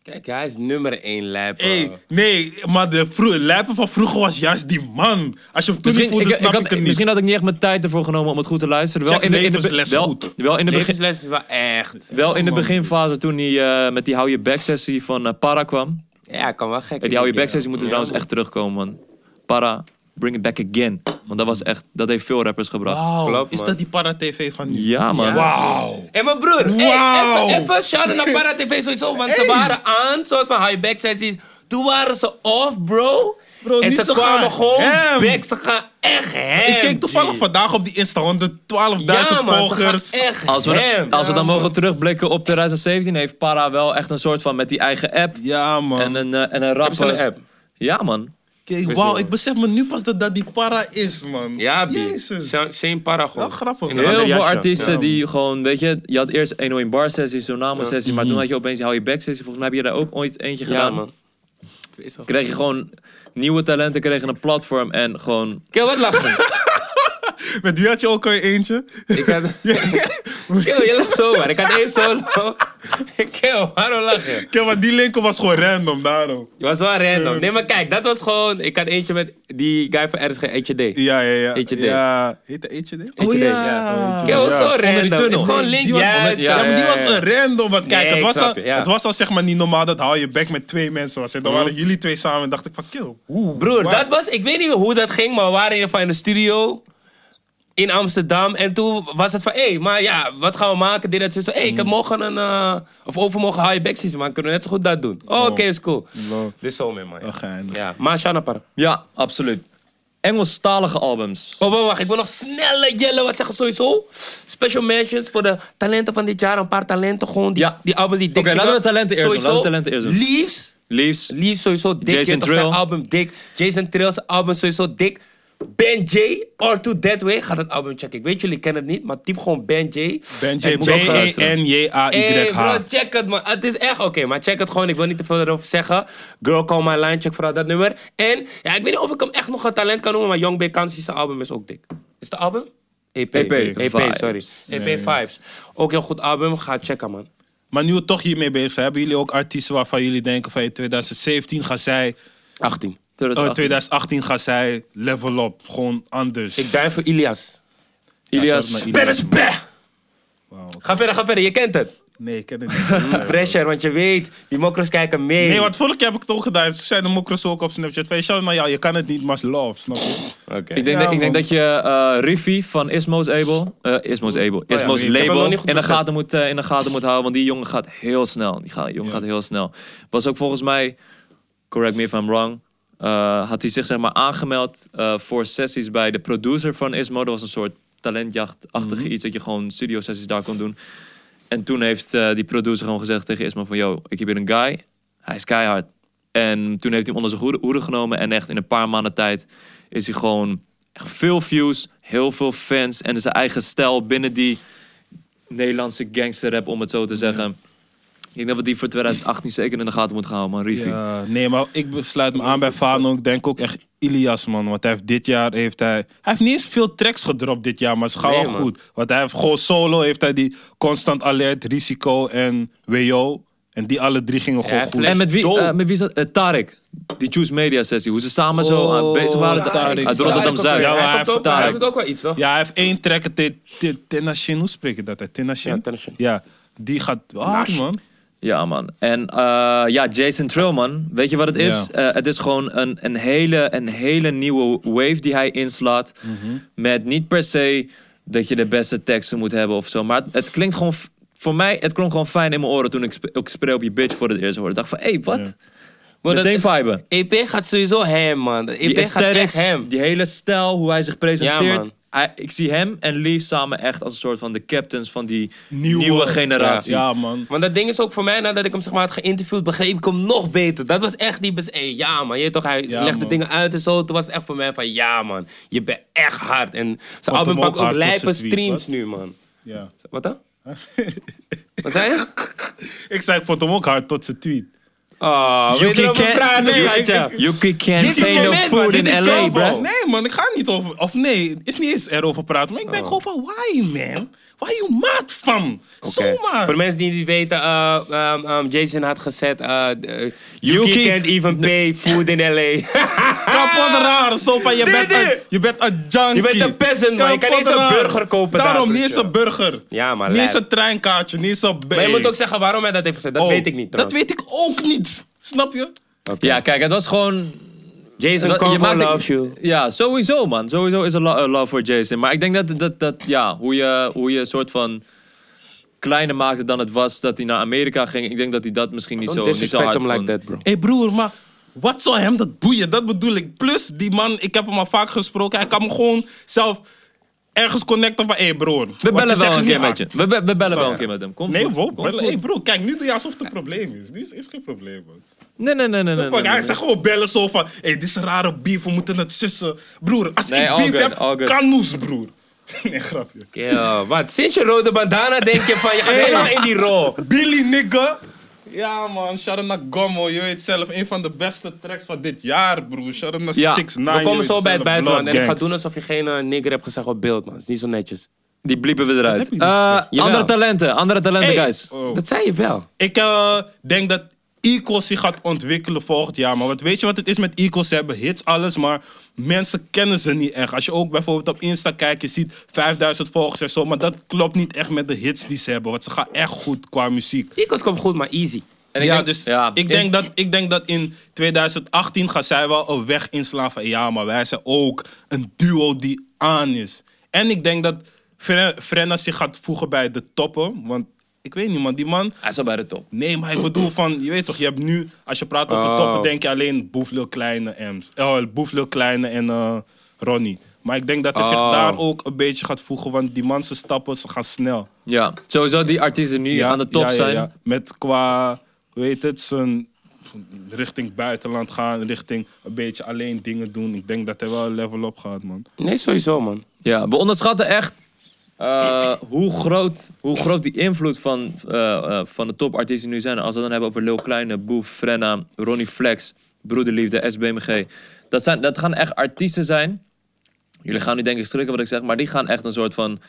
S1: Kijk, hij is nummer 1 lijp.
S3: Hey, nee, maar de vro- lijpen van vroeger was juist die man. Als je hem toen niet
S2: Misschien,
S3: voelde,
S2: ik, ik
S3: snap ik,
S2: had,
S3: het niet.
S2: misschien had ik niet echt mijn tijd ervoor genomen om het goed te luisteren. Wel
S3: Check
S2: in de, in de,
S3: levensles
S2: wel-
S3: goed. Oh,
S2: wel in de begin,
S1: Levensles is wel echt.
S2: Wel in de
S3: man.
S2: beginfase toen hij eh, met die hou je back sessie van eh, Para kwam. En
S1: Ja, hij kan wel gek.
S2: die hou je
S1: dingen.
S2: back sessie moet er
S1: Ja,
S2: trouwens
S1: man.
S2: echt terugkomen, man. Para, bring it back again. Want dat was echt, dat heeft veel rappers gebracht.
S3: Wauw,
S1: Klopt,
S3: is
S1: man.
S3: dat die para-tv van nu?
S2: Ja, man.
S3: Wauw.
S1: Hé, maar broer, hey,
S3: Wauw.
S1: even, even shout-out naar Para TV sowieso, want ze waren aan, soort van high-back sessies. Toen waren ze off, bro.
S3: Bro,
S1: en
S3: niet
S1: ze
S3: zo
S1: kwamen
S3: gaan
S1: gewoon
S3: hem.
S1: back, ze gaan echt hem.
S3: Ik keek toevallig
S1: G.
S3: vandaag op die Insta, 112.000
S1: Ja, man, ze gaan
S3: volgers.
S1: echt
S2: Als we,
S1: hem.
S2: als we dan mogen terugblikken op 2017, heeft Para wel echt een soort van met die eigen app
S3: Ja, man.
S2: en een, eh, en een
S1: Hebben ze
S2: rapper.
S1: een app?
S2: Ja, man.
S3: Kijk,
S1: Wist
S3: wauw,
S1: je-
S3: ik besef me nu pas dat dat die para is, man.
S1: Ja, B.
S3: Jezus.
S1: Shane Para gewoon.
S3: Wel grappig,
S1: In een
S3: hè?
S2: Heel
S1: ander
S2: veel
S1: jasje.
S2: artiesten
S3: Ja,
S2: die gewoon, weet je, je had eerst 101 bar sessies, zo'n namen sessie, maar toen had je opeens die hou je back sessie. Volgens mij heb je daar ook ooit eentje
S1: Ja,
S2: gedaan.
S1: man. Het is al-
S2: kreeg je gewoon nieuwe talenten, kregen een platform en gewoon.
S1: Kill, wat lachen?
S3: Met wie had je ook al eentje?
S1: Ik had... Kill, je lacht zo, man. Ik had één solo. Kill, waarom lach je?
S3: Kijk, maar die linker was gewoon random, daarom.
S1: Het was wel random. Nee, maar kijk, dat was gewoon... Ik had eentje met die guy van RSG, eentje D.
S3: Ja, ja, ja.
S1: Eentje D.
S3: Ja, heet hij Eentje D?
S1: Eentje D, ja.
S3: Eentje
S1: Kill,
S3: D,
S1: zo
S3: ja.
S2: die
S1: random. Het
S2: tunnel.
S1: is gewoon link.
S3: Die was-
S1: Ja,
S2: met-
S1: ja,
S3: Ja, maar die
S1: ja,
S3: was
S1: ja.
S3: een random. Want kijk,
S1: Nee, ik
S3: het, was
S1: snap
S3: al,
S1: je, ja.
S3: het was al zeg maar niet normaal dat hou je back met twee mensen was. En dan waren jullie twee samen. En dacht ik van, kill. Oeh,
S1: Broer,
S3: waar-
S1: dat was... Ik weet niet meer hoe dat ging, maar we waren in ieder geval in de studio... In Amsterdam. En toen was het van, hé, hey, maar ja, wat gaan we maken? Dit, dat, zo. Hé, hey,
S2: Mm.
S1: ik heb morgen een... eh, of overmorgen high back season, maar kunnen we net zo goed dat doen. Oh, Oké, is cool.
S3: Wow.
S1: Dit is zo mee, man. Ja.
S3: Wel geinig.
S1: Ja, maar Shana Parra.
S2: Ja, absoluut. Engelstalige albums.
S1: Oh, wacht, wacht. Ik wil nog snelle jellen wat zeggen sowieso. Special mentions voor de talenten van dit jaar. Een paar talenten gewoon. Die,
S2: Ja.
S1: die albums die dik
S2: Oké, laten we de talenten eerst doen,
S1: Sowieso.
S2: laten we de talenten eerst doen.
S1: Leaves.
S2: Liefs.
S1: Leaves sowieso dik.
S2: Jason
S1: Jason Trill.
S2: Trill.
S1: Zijn album dik. Jason Trill's album sowieso dik. Ben J, Or To That Way. Ga dat album checken. Ik weet jullie kennen het niet, maar typ gewoon Ben J.
S3: Ben
S2: Ik
S3: J. E
S2: moet ook gaan luisteren.
S1: Hey
S3: B-E-N-J-A-Y-H.
S1: bro, check het man. Het is echt oké, maar check het gewoon. Ik wil niet te veel erover zeggen. Girl Call My Line, check vooral dat nummer. En ja, ik weet niet of ik hem echt nog een talent kan noemen, maar Young Big Kansi, zijn album is ook dik. Is het album? E EP.
S2: EP, vibes.
S1: sorry. EP Vibes. Ook heel goed album. Ga checken man.
S3: Maar nu we toch hiermee bezig zijn, hebben jullie ook artiesten waarvan jullie denken van in 2017 gaan zij, eh,
S1: 18.
S2: 2018.
S3: 2018 gaan zij level up, gewoon anders.
S1: Ik duim voor Ilias.
S3: Ja,
S2: Ilias,
S3: sorry, maar
S1: Ben is beh!
S3: Wauw.
S1: Ga verder, ga verder. Je kent het.
S3: Nee, ik ken het niet.
S1: Pressure, want je weet, die mokros kijken mee.
S3: Nee, want vorige keer heb ik het ook gedaan. Ze zeiden mokros ook op Snapchat. Van, shout maar ja, je kan het niet, maar love, snap je?
S1: Oké.
S2: ik denk,
S3: Ja,
S2: dat, ik denk
S3: man.
S2: dat je eh Riffy van Ismo's Abel, eh, Ismo's Abel,
S1: Oh, ja,
S2: Ismo's
S1: ik heb hem nog
S2: Label
S1: niet goed
S2: in de,
S1: beseft.
S2: gaten moet, eh, in de gaten moet houden, want die jongen gaat heel snel. Die ga- jongen gaat heel snel. Was ook volgens mij, correct me if I'm wrong, eh, had hij zich zeg maar aangemeld eh, voor sessies bij de producer van Ismo. Dat was een soort talentjachtachtige
S1: Mhm.
S2: iets dat je gewoon studio sessies daar kon doen. En toen heeft eh, die producer gewoon gezegd tegen Ismo van... Yo, ik heb hier een guy. Hij is keihard. En toen heeft hij hem onder zijn hoede, hoede genomen. En echt in een paar maanden tijd is hij gewoon... Echt veel views, heel veel fans. En zijn eigen stijl binnen die Nederlandse gangsterrap, om het zo te zeggen. Ik denk dat we die voor 2018 zeker in de gaten moeten houden, man. Review.
S3: Ja, nee, maar ik sluit me aan bij Fano. Ik denk ook echt Ilias, man. Want hij heeft dit jaar heeft hij... Hij heeft niet eens veel tracks gedropt dit jaar, maar het gaat
S1: Nee,
S3: wel
S1: man.
S3: goed. Want hij heeft gewoon solo, heeft hij die Constant Alert, Risico en WO. En die alle drie gingen gewoon
S1: hij
S3: goed.
S2: En met wie,
S1: Dol.
S2: eh, met wie zat... eh, Tarek. Die Choose Media sessie. Hoe ze samen zo aan bezig waren.
S3: Tarek.
S2: Uit
S3: Tarek
S2: Rotterdam-Zuid.
S3: Ja, maar
S1: Hij
S3: hij
S1: komt ook-
S3: heeft-
S1: hij heeft ook wel iets, toch?
S3: Ja, hij heeft één track, Te- Te- Tenashin. Hoe spreek je dat? uit? Tenashin?
S1: Ja, Tenashin.
S3: Ja, die gaat hard,
S1: Tenashin.
S3: man.
S2: Ja, man. En eh, ja, Jason Trill, man. Weet je wat het is? Eh, het is gewoon een, een, hele, een hele nieuwe wave die hij inslaat.
S3: Mhm.
S2: Met niet per se dat je de beste teksten moet hebben of zo. Maar het, het klinkt gewoon... f- Voor mij, het klonk gewoon fijn in mijn oren toen ik, sp- ik spray op je bitch voor het eerst hoorde. Ik dacht van, hé, hey, wat?
S1: Maar dat-
S2: Meteen viben.
S1: EP E gaat sowieso hem, man. De EP
S2: Die
S1: gaat echt
S2: aesthetics,
S1: hem.
S2: die hele stijl, hoe hij zich presenteert.
S1: Ja, man.
S2: Hij- ik zie hem en Leaf samen echt als een soort van de captains van die nieuwe,
S3: Nieuwe-
S2: generatie.
S3: Ja, man.
S1: Want dat ding is ook voor mij, nadat ik hem zeg maar had geïnterviewd, begreep ik hem nog beter. Dat was echt die bes... Hey, ja man, je weet toch, hij
S3: Ja,
S1: legde
S3: man.
S1: dingen uit en zo. Toen was het echt voor mij van, ja man, je bent echt hard. En zijn album
S3: hem ook
S1: pakt ook
S3: hard tot
S1: lijpe
S3: zijn tweet,
S1: streams
S3: wat?
S1: nu, man.
S3: Ja.
S1: Wat dan? Wat zei je?
S3: Ik zei, ik vond hem ook hard tot zijn tweet.
S1: Oh,
S2: You
S1: weet je
S2: can't,
S1: erover praten,
S2: nee,
S1: schatje?
S2: you
S1: Dit
S2: can't
S1: is
S2: say no
S1: comment, man.
S2: food
S1: Dit
S2: in
S1: is
S2: LA,
S1: Bravo.
S2: bro.
S3: Nee, man, ik ga niet over. Of nee, het is niet eens erover praten. Maar ik
S1: Oh.
S3: denk gewoon van, why, man? Why you mad van?
S1: Oké. Voor de
S3: Zomaar.
S1: mensen die niet weten, eh, ehm, ehm, Jason had gezet... eh, eh, Yuki,
S2: Yuki-
S1: can't even pay food in L.A.
S3: Kapot raar. Zo van, je
S1: Dit,
S3: bent, een,
S1: dit.
S3: je bent een junkie.
S1: Ah! Je bent een peasant, man. Je kan niet eens een
S3: Kapot raar.
S1: burger kopen daar,
S3: Daarom, niet eens
S1: broertje.
S3: een burger.
S1: Ja, maar
S3: Niet eens
S1: lijp.
S3: een treinkaartje, niet eens een...
S1: Maar je moet ook zeggen waarom hij dat heeft gezet. Dat
S3: Oh,
S1: weet ik niet,
S3: Dat
S1: trouwens.
S3: weet ik ook niet. Snap je?
S2: Ja, kijk, het was gewoon...
S1: Jason
S2: dat-
S1: Convo
S2: maakt-
S1: loves you.
S2: Ja, sowieso, man. Sowieso is er lo- eh, love voor Jason. Maar ik denk dat, dat, dat ja, hoe je, hoe je een soort van kleiner maakte dan het was dat hij naar Amerika ging. Ik denk dat hij dat misschien niet,
S1: Don't
S2: zo, niet zo
S1: disrespect
S2: hard
S1: him like
S2: vond.
S1: that, bro.
S3: Hé hey broer, maar wat zou hem dat boeien? Dat bedoel ik. Plus, die man, ik heb hem al vaak gesproken. Hij kan me gewoon zelf ergens connecten van... Hé hey broer,
S2: We
S3: wat
S2: bellen
S3: zegt
S2: wel
S3: is
S2: een
S3: niet
S2: keer met
S3: hard.
S2: je. We, be- we bellen wel een
S3: Ja.
S2: keer met hem. Kom,
S3: Nee,
S2: goed,
S3: wow.
S2: kom,
S3: bellen.
S2: goed.
S3: hey bro, kijk nu doe je alsof het een probleem is. Nu is, is geen probleem, man.
S2: Nee, nee, nee, nee. nee,
S3: Fuck,
S2: nee,
S3: hij
S2: nee.
S3: zegt gewoon bellen zo van... Hé, dit is een rare beef, we moeten het sussen. Broer, als
S2: Nee,
S3: ik
S2: all
S3: beef
S2: good, all
S3: heb,
S2: good.
S3: kanoes, broer. Nee, grapje.
S1: Ja, wat? Sinds je rode bandana denk je van, je gaat
S3: Hey.
S1: helemaal in die rol.
S3: Billy, nigga. Ja, man. Shout-out naar Gommo. Je weet zelf, een van de beste tracks van dit jaar, broer. Shout-out naar
S2: Ja,
S3: 6 9
S1: We komen zo bij het buitenland en ik ga doen alsof je geen eh, nigger hebt gezegd op beeld, man. Het is niet zo netjes.
S2: Die bliepen we eruit.
S3: heb je niet gezegd.
S2: Eh, andere
S1: Jawel.
S2: talenten, andere talenten,
S3: Hey.
S2: guys.
S1: Dat zei je wel.
S3: Ik eh, denk dat Equals zich gaat ontwikkelen volgend jaar. Maar wat, weet je wat het is met Equals? Ze hebben hits, alles, maar mensen kennen ze niet echt. Als je ook bijvoorbeeld op Insta kijkt, je ziet 5000 volgers en zo. Maar dat klopt niet echt met de hits die ze hebben. Want ze gaan echt goed qua muziek.
S1: Eagles komt goed, maar easy.
S2: En ik
S3: Ja,
S2: denk-
S3: dus
S2: ja,
S3: ik,
S2: is-
S3: denk dat, ik denk dat in 2018 gaan zij wel een weg inslaan van... ja, maar wij zijn ook een duo die aan is. En ik denk dat Fre- Frenna zich gaat voegen bij de toppen. Want ik weet niet, man. Die man...
S2: Hij is al bij de top.
S3: Nee, maar ik bedoel van... Je weet toch, je hebt nu... Als je praat over
S1: Oh.
S3: toppen, denk je alleen Boef Lil Kleine en... Oh, Boef Lil Kleine en eh, Ronnie. Maar ik denk dat hij zich
S1: Oh.
S3: daar ook een beetje gaat voegen. Want die man, zijn stappen, ze gaan snel.
S2: Ja, sowieso die artiesten die nu aan de top
S3: ja, ja,
S2: zijn.
S3: ja. Met qua, hoe heet het, zijn richting buitenland gaan, richting een beetje alleen dingen doen. Ik denk dat hij wel een level op gaat, man.
S2: Dus
S1: Nee, sowieso, man.
S2: Ja, we onderschatten echt eh, hoe, groot, hoe groot die invloed van, eh, eh, van de topartiesten nu zijn. Als we het dan hebben over Lil Kleine, Boef, Frenna, Ronnie Flex, Broederliefde, SBMG. Dat, zijn, dat gaan echt artiesten zijn. Jullie gaan nu denk ik schrikken wat ik zeg, maar die gaan echt een soort van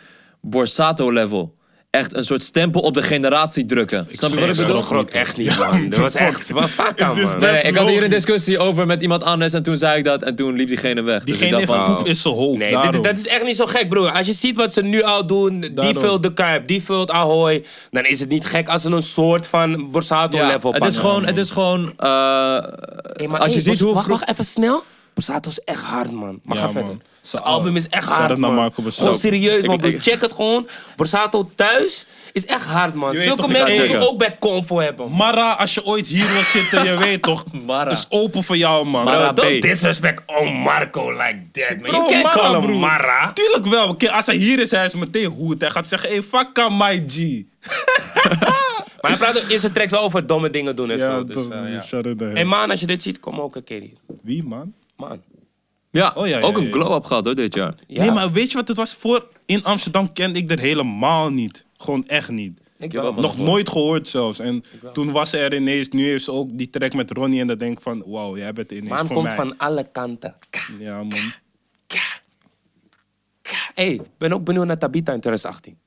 S2: Borsato-level. Echt een soort stempel op de generatie drukken. Snap je
S1: Nee,
S2: wat
S1: Oh,
S2: ik
S1: dat
S2: bedoel?
S1: was grok echt niet, man. Dat was echt... Wat fuck aan, man.
S2: Nee, nee, ik had hier een discussie over met iemand anders en toen zei ik dat en toen liep diegene weg. Dus ik
S3: Diegene
S2: dacht
S3: van
S2: van,
S3: poep is zijn hoofd,
S1: Nee,
S3: daarom.
S1: dit- dat is echt niet zo gek, broer. Als je ziet wat ze nu al doen, die
S3: Daarom.
S1: vult de Kuip, die vult Ahoy, dan is het niet gek als ze een soort van
S2: ja,
S1: Borsato-level
S2: het is gewoon, het is gewoon eh,
S1: Hey, maar
S2: als
S1: hey,
S2: je ziet
S1: Bos-
S2: hoe
S1: wacht,
S2: vroeg-
S1: wacht, even snel. Borsato is echt hard, man. Maar
S3: Ja,
S1: ga
S3: man.
S1: verder. Zijn
S3: Zijn
S1: album
S3: al-
S1: is echt
S3: Shout-out
S1: hard,
S3: naar
S1: man.
S3: Marco Borsato.
S1: Gewoon serieus, man.
S2: Ik-
S1: bro.
S2: ik-
S1: Check het gewoon. Borsato thuis is echt hard, man.
S3: Je weet
S1: Zulke
S3: toch, ik ga
S1: mensen
S2: het
S1: moeten
S2: checken.
S1: ook bij Convo hebben.
S3: Mara, als je ooit hier wil zitten, je weet toch,
S2: Mara.
S3: is open voor jou, man.
S2: Mara,
S1: Bro, don't
S2: B.
S1: disrespect on Marco like that, man.
S3: Bro,
S1: You can't
S3: Mara,
S1: call him
S3: broer.
S1: Mara.
S3: Tuurlijk wel. Oké, Als hij hier is, hij is meteen hoed. Hij gaat zeggen, hey, fuck up, my G.
S1: Maar hij praat ook in zijn tracks wel over domme dingen doen en zo. Dus,
S3: dom,
S1: eh, ja.
S3: shout-out naar hem.
S1: Hey man, als je dit ziet, kom ook een keer hier.
S3: Wie, man?
S1: Man.
S2: Ja,
S3: Oh, ja, ja,
S2: ook een
S3: ja.
S2: glow-up gehad hoor dit jaar.
S1: Ja.
S3: Nee, maar weet je wat het was? Voor in Amsterdam kende ik er helemaal niet. Gewoon echt niet.
S1: Ik
S2: Ja,
S1: wel,
S2: man.
S1: man.
S3: Nog nooit gehoord zelfs. En toen was ze er ineens, nu heeft ze ook die track met Ronnie. En dan denk ik van, wauw, jij bent ineens
S1: Maan
S3: voor
S1: komt
S3: mij.
S1: van alle kanten.
S3: Ja, man.
S1: Hey, ik ben ook benieuwd naar Tabita in 2018.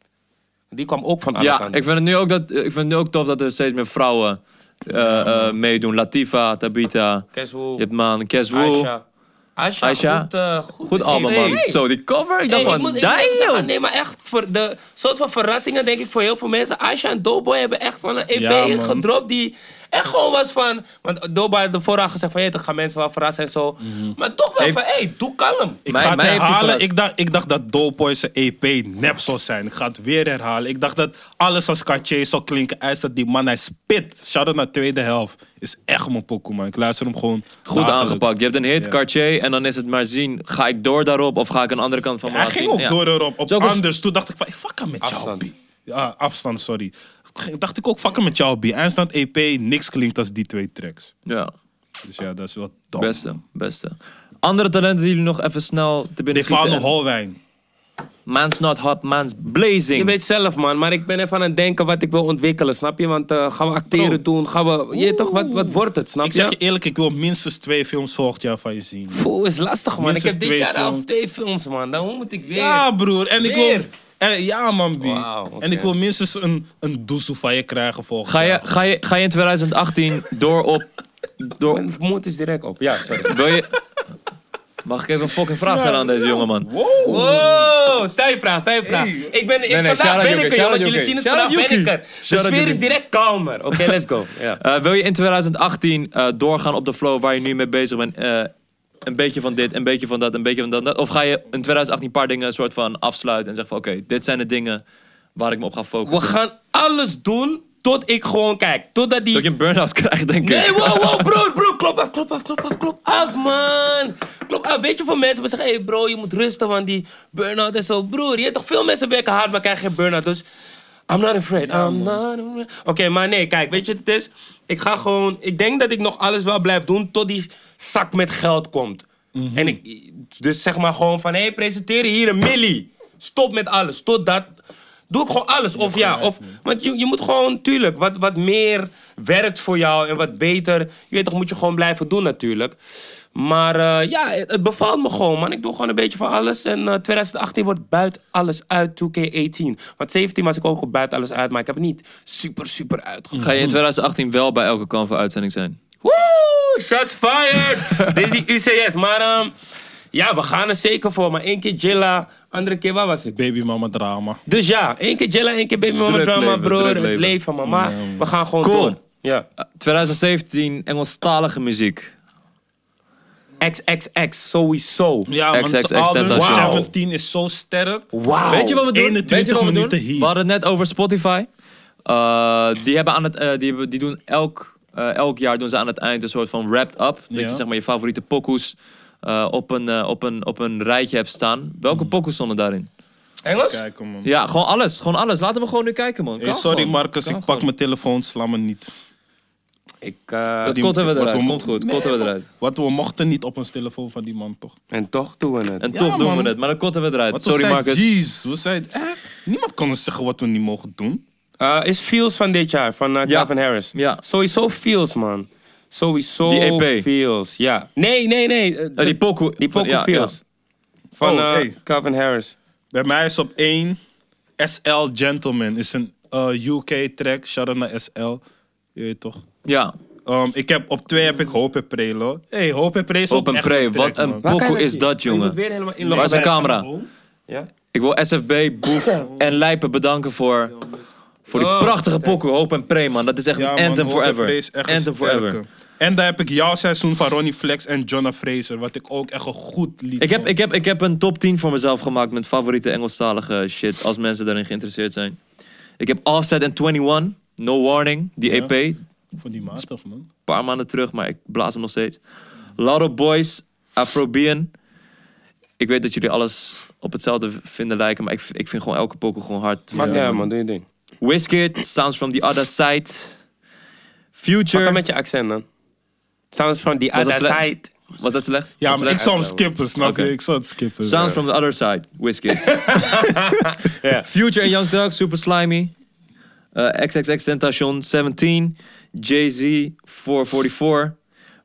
S1: Die kwam ook van alle
S2: Ja,
S1: kanten.
S2: ik vind, het nu ook dat, ik vind het nu ook tof dat er steeds meer vrouwen eh, eh, meedoen. Latifa, Tabita,
S1: Keswoe,
S2: je hebt man, Keswoe.
S1: Aisha. Aisha,
S2: Aisha.
S1: goed, eh, goed,
S2: Goed album man.
S3: Hey.
S2: Zo, die cover, ik
S1: Hey,
S2: dacht
S1: ik
S2: van,
S1: moet, ik moet even
S2: damn!
S1: zeggen, nee, maar echt, voor de soort van verrassingen denk ik voor heel veel mensen. Aisha en Doughboy hebben echt van een EP
S3: Ja, man.
S1: gedropt die echt gewoon was van... Want Doughboy had ervoor al gezegd van, hey, toch gaan mensen wel verrassen en zo. Maar toch wel
S2: Hey.
S1: van, hey, doe kalm.
S3: Mhm. Ik
S2: Mij-
S3: ga het
S2: mij heeft hij
S3: herhalen.
S2: verrast.
S3: Ik dacht, ik dacht dat Doughboy zijn EP nep zou zijn. Ik ga het weer herhalen. Ik dacht dat alles als Cartier zou klinken. Hij dat die man, hij spit. Shout-out naar tweede helft. Is echt mijn pokoe, man. Ik luister hem gewoon
S2: Goed
S3: dagelijks.
S2: aangepakt. Je hebt een hit,
S3: Ja.
S2: Cartier, en dan is het maar zien, ga ik door daarop of ga ik een andere kant van me
S3: Hij
S2: laten
S3: ging
S2: zien?
S3: ook
S2: Ja.
S3: door erop. Op
S2: Zo was-
S3: anders. Toen dacht ik van, fuck hem met jou,
S1: Afstand.
S3: B. Ja, afstand, sorry. Ging- Dacht ik ook, fuck hem met jou, B. Eindstand EP, niks klinkt als die twee tracks.
S2: Ja,
S3: Dus ja, dat is wel top.
S2: beste, beste. Andere talenten die jullie nog even snel te binnen
S3: Stefano
S2: schieten.
S3: Holwijn.
S2: Man's not hot, man's
S1: Je
S2: blazing.
S1: weet zelf, man. Maar ik ben even aan het denken wat ik wil ontwikkelen, snap je? Want eh, gaan we acteren doen? Gaan we... Je weet toch, wat, wat wordt het, snap
S3: Ik zeg
S1: je?
S3: je eerlijk, ik wil minstens twee films volgend jaar van je zien.
S1: Voel is lastig, man.
S3: Minstens
S1: ik heb dit
S3: twee
S1: jaar al
S3: films.
S1: twee films, man. Dan hoe moet ik weer?
S3: Ja, broer. En ik
S1: Weer?
S3: wil... Eh, ja, man, B.
S1: Wauw, oké.
S3: En ik wil minstens een, een doezoe van je krijgen volgend
S2: Ga je,
S3: jaar.
S2: ga, je, ga je in 2018 door op. Door,
S1: Mijn mond is direct op. Ja, sorry.
S2: wil je, mag ik even een fucking vraag stellen aan deze jongeman?
S3: Wow!
S1: Wow, stel je vraag, stel je vraag. Ik ben, ik,
S2: nee,
S1: vandaag
S2: shout-out
S1: ben
S2: Yuki,
S1: ik er, jongens.
S2: shout-out
S1: Jullie
S2: Yuki.
S1: zien het,
S2: Shout-out
S1: vandaag ben ik
S2: Yuki.
S1: er. De
S2: Shout-out
S1: sfeer is
S2: Yuki.
S1: direct kalmer. Oké, let's go. Ja.
S2: Eh, wil je in 2018 eh, doorgaan op de flow waar je nu mee bezig bent? eh, een beetje van dit, een beetje van dat, een beetje van dat, dat. Of ga je in 2018 een paar dingen een soort van afsluiten en zeggen van oké, dit zijn de dingen waar ik me op ga
S1: We
S2: focussen.
S1: gaan alles doen tot ik gewoon kijk. Totdat die...
S2: Dat je een burn-out krijgt, denk ik.
S1: Nee, wow, wow, bro, bro, klop af, klop af, klop af, klop af, man. Klop af. Weet je hoeveel mensen me zeggen, hey bro, je moet rusten, want die burn-out en zo. Broer, je hebt toch veel mensen werken hard, maar krijgen geen burn-out. Dus, I'm not afraid, I'm not afraid. Oké, maar nee, kijk, weet je wat het is? Ik ga gewoon, ik denk dat ik nog alles wel blijf doen tot die zak met geld komt.
S2: Mhm.
S1: En ik, dus zeg maar gewoon van, hé, hey, presenteer hier een millie. Stop met alles, totdat... Doe ik gewoon alles. Of ja, of, want je, je moet gewoon, tuurlijk, wat, wat meer werkt voor jou en wat beter. Je weet toch, moet je gewoon blijven doen natuurlijk. Maar eh, ja, het, het bevalt me gewoon, man. Ik doe gewoon een beetje van alles. En eh, 2018 wordt buiten alles uit 2K18. Want 17 was ik ook op buiten alles uit, maar ik heb het niet super, super uitgegaan.
S2: Ga je in 2018 wel bij elke Canva uitzending zijn?
S1: Woe, shots fired! Dit is die UCS. Maar ehm, ja, we gaan er zeker voor. Maar één keer Jilla, andere keer, waar was ik?
S3: Baby mama drama.
S1: Dus ja, één keer Jella, één keer Baby Mama
S2: Druk
S1: Drama,
S2: leven,
S1: broer.
S2: druk
S1: Het
S2: leven.
S1: leven, mama. We gaan gewoon
S2: Cool.
S1: door. Ja.
S2: Eh, 2017 Engelstalige muziek.
S1: XXX, sowieso.
S3: Ja, man, zijn
S2: XXX
S3: album
S2: Tentacion.
S3: 17 is zo sterk.
S1: Wauw.
S2: Weet je wat we doen?
S3: 21
S2: Weet je wat we doen?
S3: Oh, minuten
S2: We
S3: hier.
S2: hadden het net over Spotify. Eh, die, hebben aan het, eh, die, hebben, die doen elk, eh, elk jaar doen ze aan het eind een soort van wrapped up. Dat
S3: Ja.
S2: je zeg maar je favoriete pokoes eh, op, een, eh, op, een, op een rijtje hebt staan. Welke
S3: Hmm.
S2: pokoes stonden daarin?
S1: Engels?
S3: Kijk, man.
S2: Ja, gewoon alles. Gewoon alles. Laten we gewoon nu kijken, man.
S3: Hey,
S2: Kan
S3: Eh, sorry
S2: gewoon.
S3: Marcus,
S2: Kan
S3: ik pak
S2: gewoon.
S3: mijn telefoon, sla me niet.
S1: Ik, eh,
S2: Dat
S3: die-
S2: kotten we
S3: wat
S2: eruit,
S3: we mo-
S2: komt goed, kotten we eruit.
S3: Wat we mochten niet op ons telefoon van die man, toch?
S1: en toch doen we het.
S2: En
S3: Ja,
S2: toch doen
S3: man.
S2: we het, maar dan kotten we eruit.
S3: Wat
S2: Sorry
S3: we
S2: Marcus.
S3: Jeez, we zeiden, eh, niemand kan ons zeggen wat we niet mogen doen.
S1: Eh, is Fields van dit jaar, van eh,
S2: Ja.
S1: Calvin Harris.
S2: Ja.
S1: Sowieso Fields, man. Sowieso
S2: Die EP.
S1: Fields, ja. Nee, nee, nee. eh,
S2: Eh, die pokoe.
S1: die
S2: van-
S1: Poco
S2: ja,
S1: Fields.
S2: ja.
S1: Van
S3: Oh,
S1: eh,
S3: hey.
S1: Calvin Harris.
S3: Bij mij is op één SL Gentleman. Is een eh, UK track. Shout out naar SL. Je weet toch?
S2: Ja,
S3: Ehm, ik heb, op twee heb ik Hope en Pre, lo. hey, Hope en Pre is
S2: Hope
S3: ook
S2: en
S3: echt
S2: Pre,
S3: track,
S2: wat een
S3: man.
S2: Waar kan je Pokoe dat is
S1: zien?
S2: dat,
S1: Oh, Je
S2: jongen.
S1: moet weer helemaal inloggen.
S2: waar is de
S1: bij-
S2: camera?
S3: Oh.
S1: Ja?
S2: Ik wil SFB, Boef en Lijpen bedanken voor, voor die
S1: Oh.
S2: prachtige pokoe. Hoop en Pre, man. Dat is echt
S3: Ja,
S2: een
S3: man,
S2: anthem
S3: Hope en Pre
S2: forever.
S3: is echt een
S2: Anthem forever.
S3: sterke. En daar heb ik jouw seizoen van Ronnie Flex en Jonna Fraser. Wat ik ook echt een goed lied
S2: Ik heb,
S3: vond.
S2: ik, heb, ik heb een top 10 voor mezelf gemaakt met favoriete Engelstalige shit. Als mensen daarin geïnteresseerd zijn. Ik heb Offset en 21, No Warning, die
S3: Ja.
S2: EP. Een
S3: Vond die matig, man.
S2: paar maanden terug, maar ik blaas hem nog steeds. Lotto Boys, Afrobean. Ik weet dat jullie alles op hetzelfde vinden lijken, maar ik, ik vind gewoon elke poker gewoon hard.
S1: Maakt
S3: Ja,
S1: niet uit,
S3: man.
S1: man. Doe je ding.
S2: Wizkid, Sounds from the Other Side.
S1: Pak hem
S2: Future.
S1: met je accent, dan. Sounds van die
S2: Was
S1: other
S2: dat sle-
S1: side.
S2: Was dat slecht?
S3: Ja,
S2: Was
S3: maar ik
S2: slecht?
S3: zou hem skippen, snap
S2: Oké.
S3: je? Ik zou het skippen.
S2: Sounds from the Other Side, Wizkid. Future en Young Thug, Super Slimy. Eh XXX Tentation, 17. Jay-Z, 444.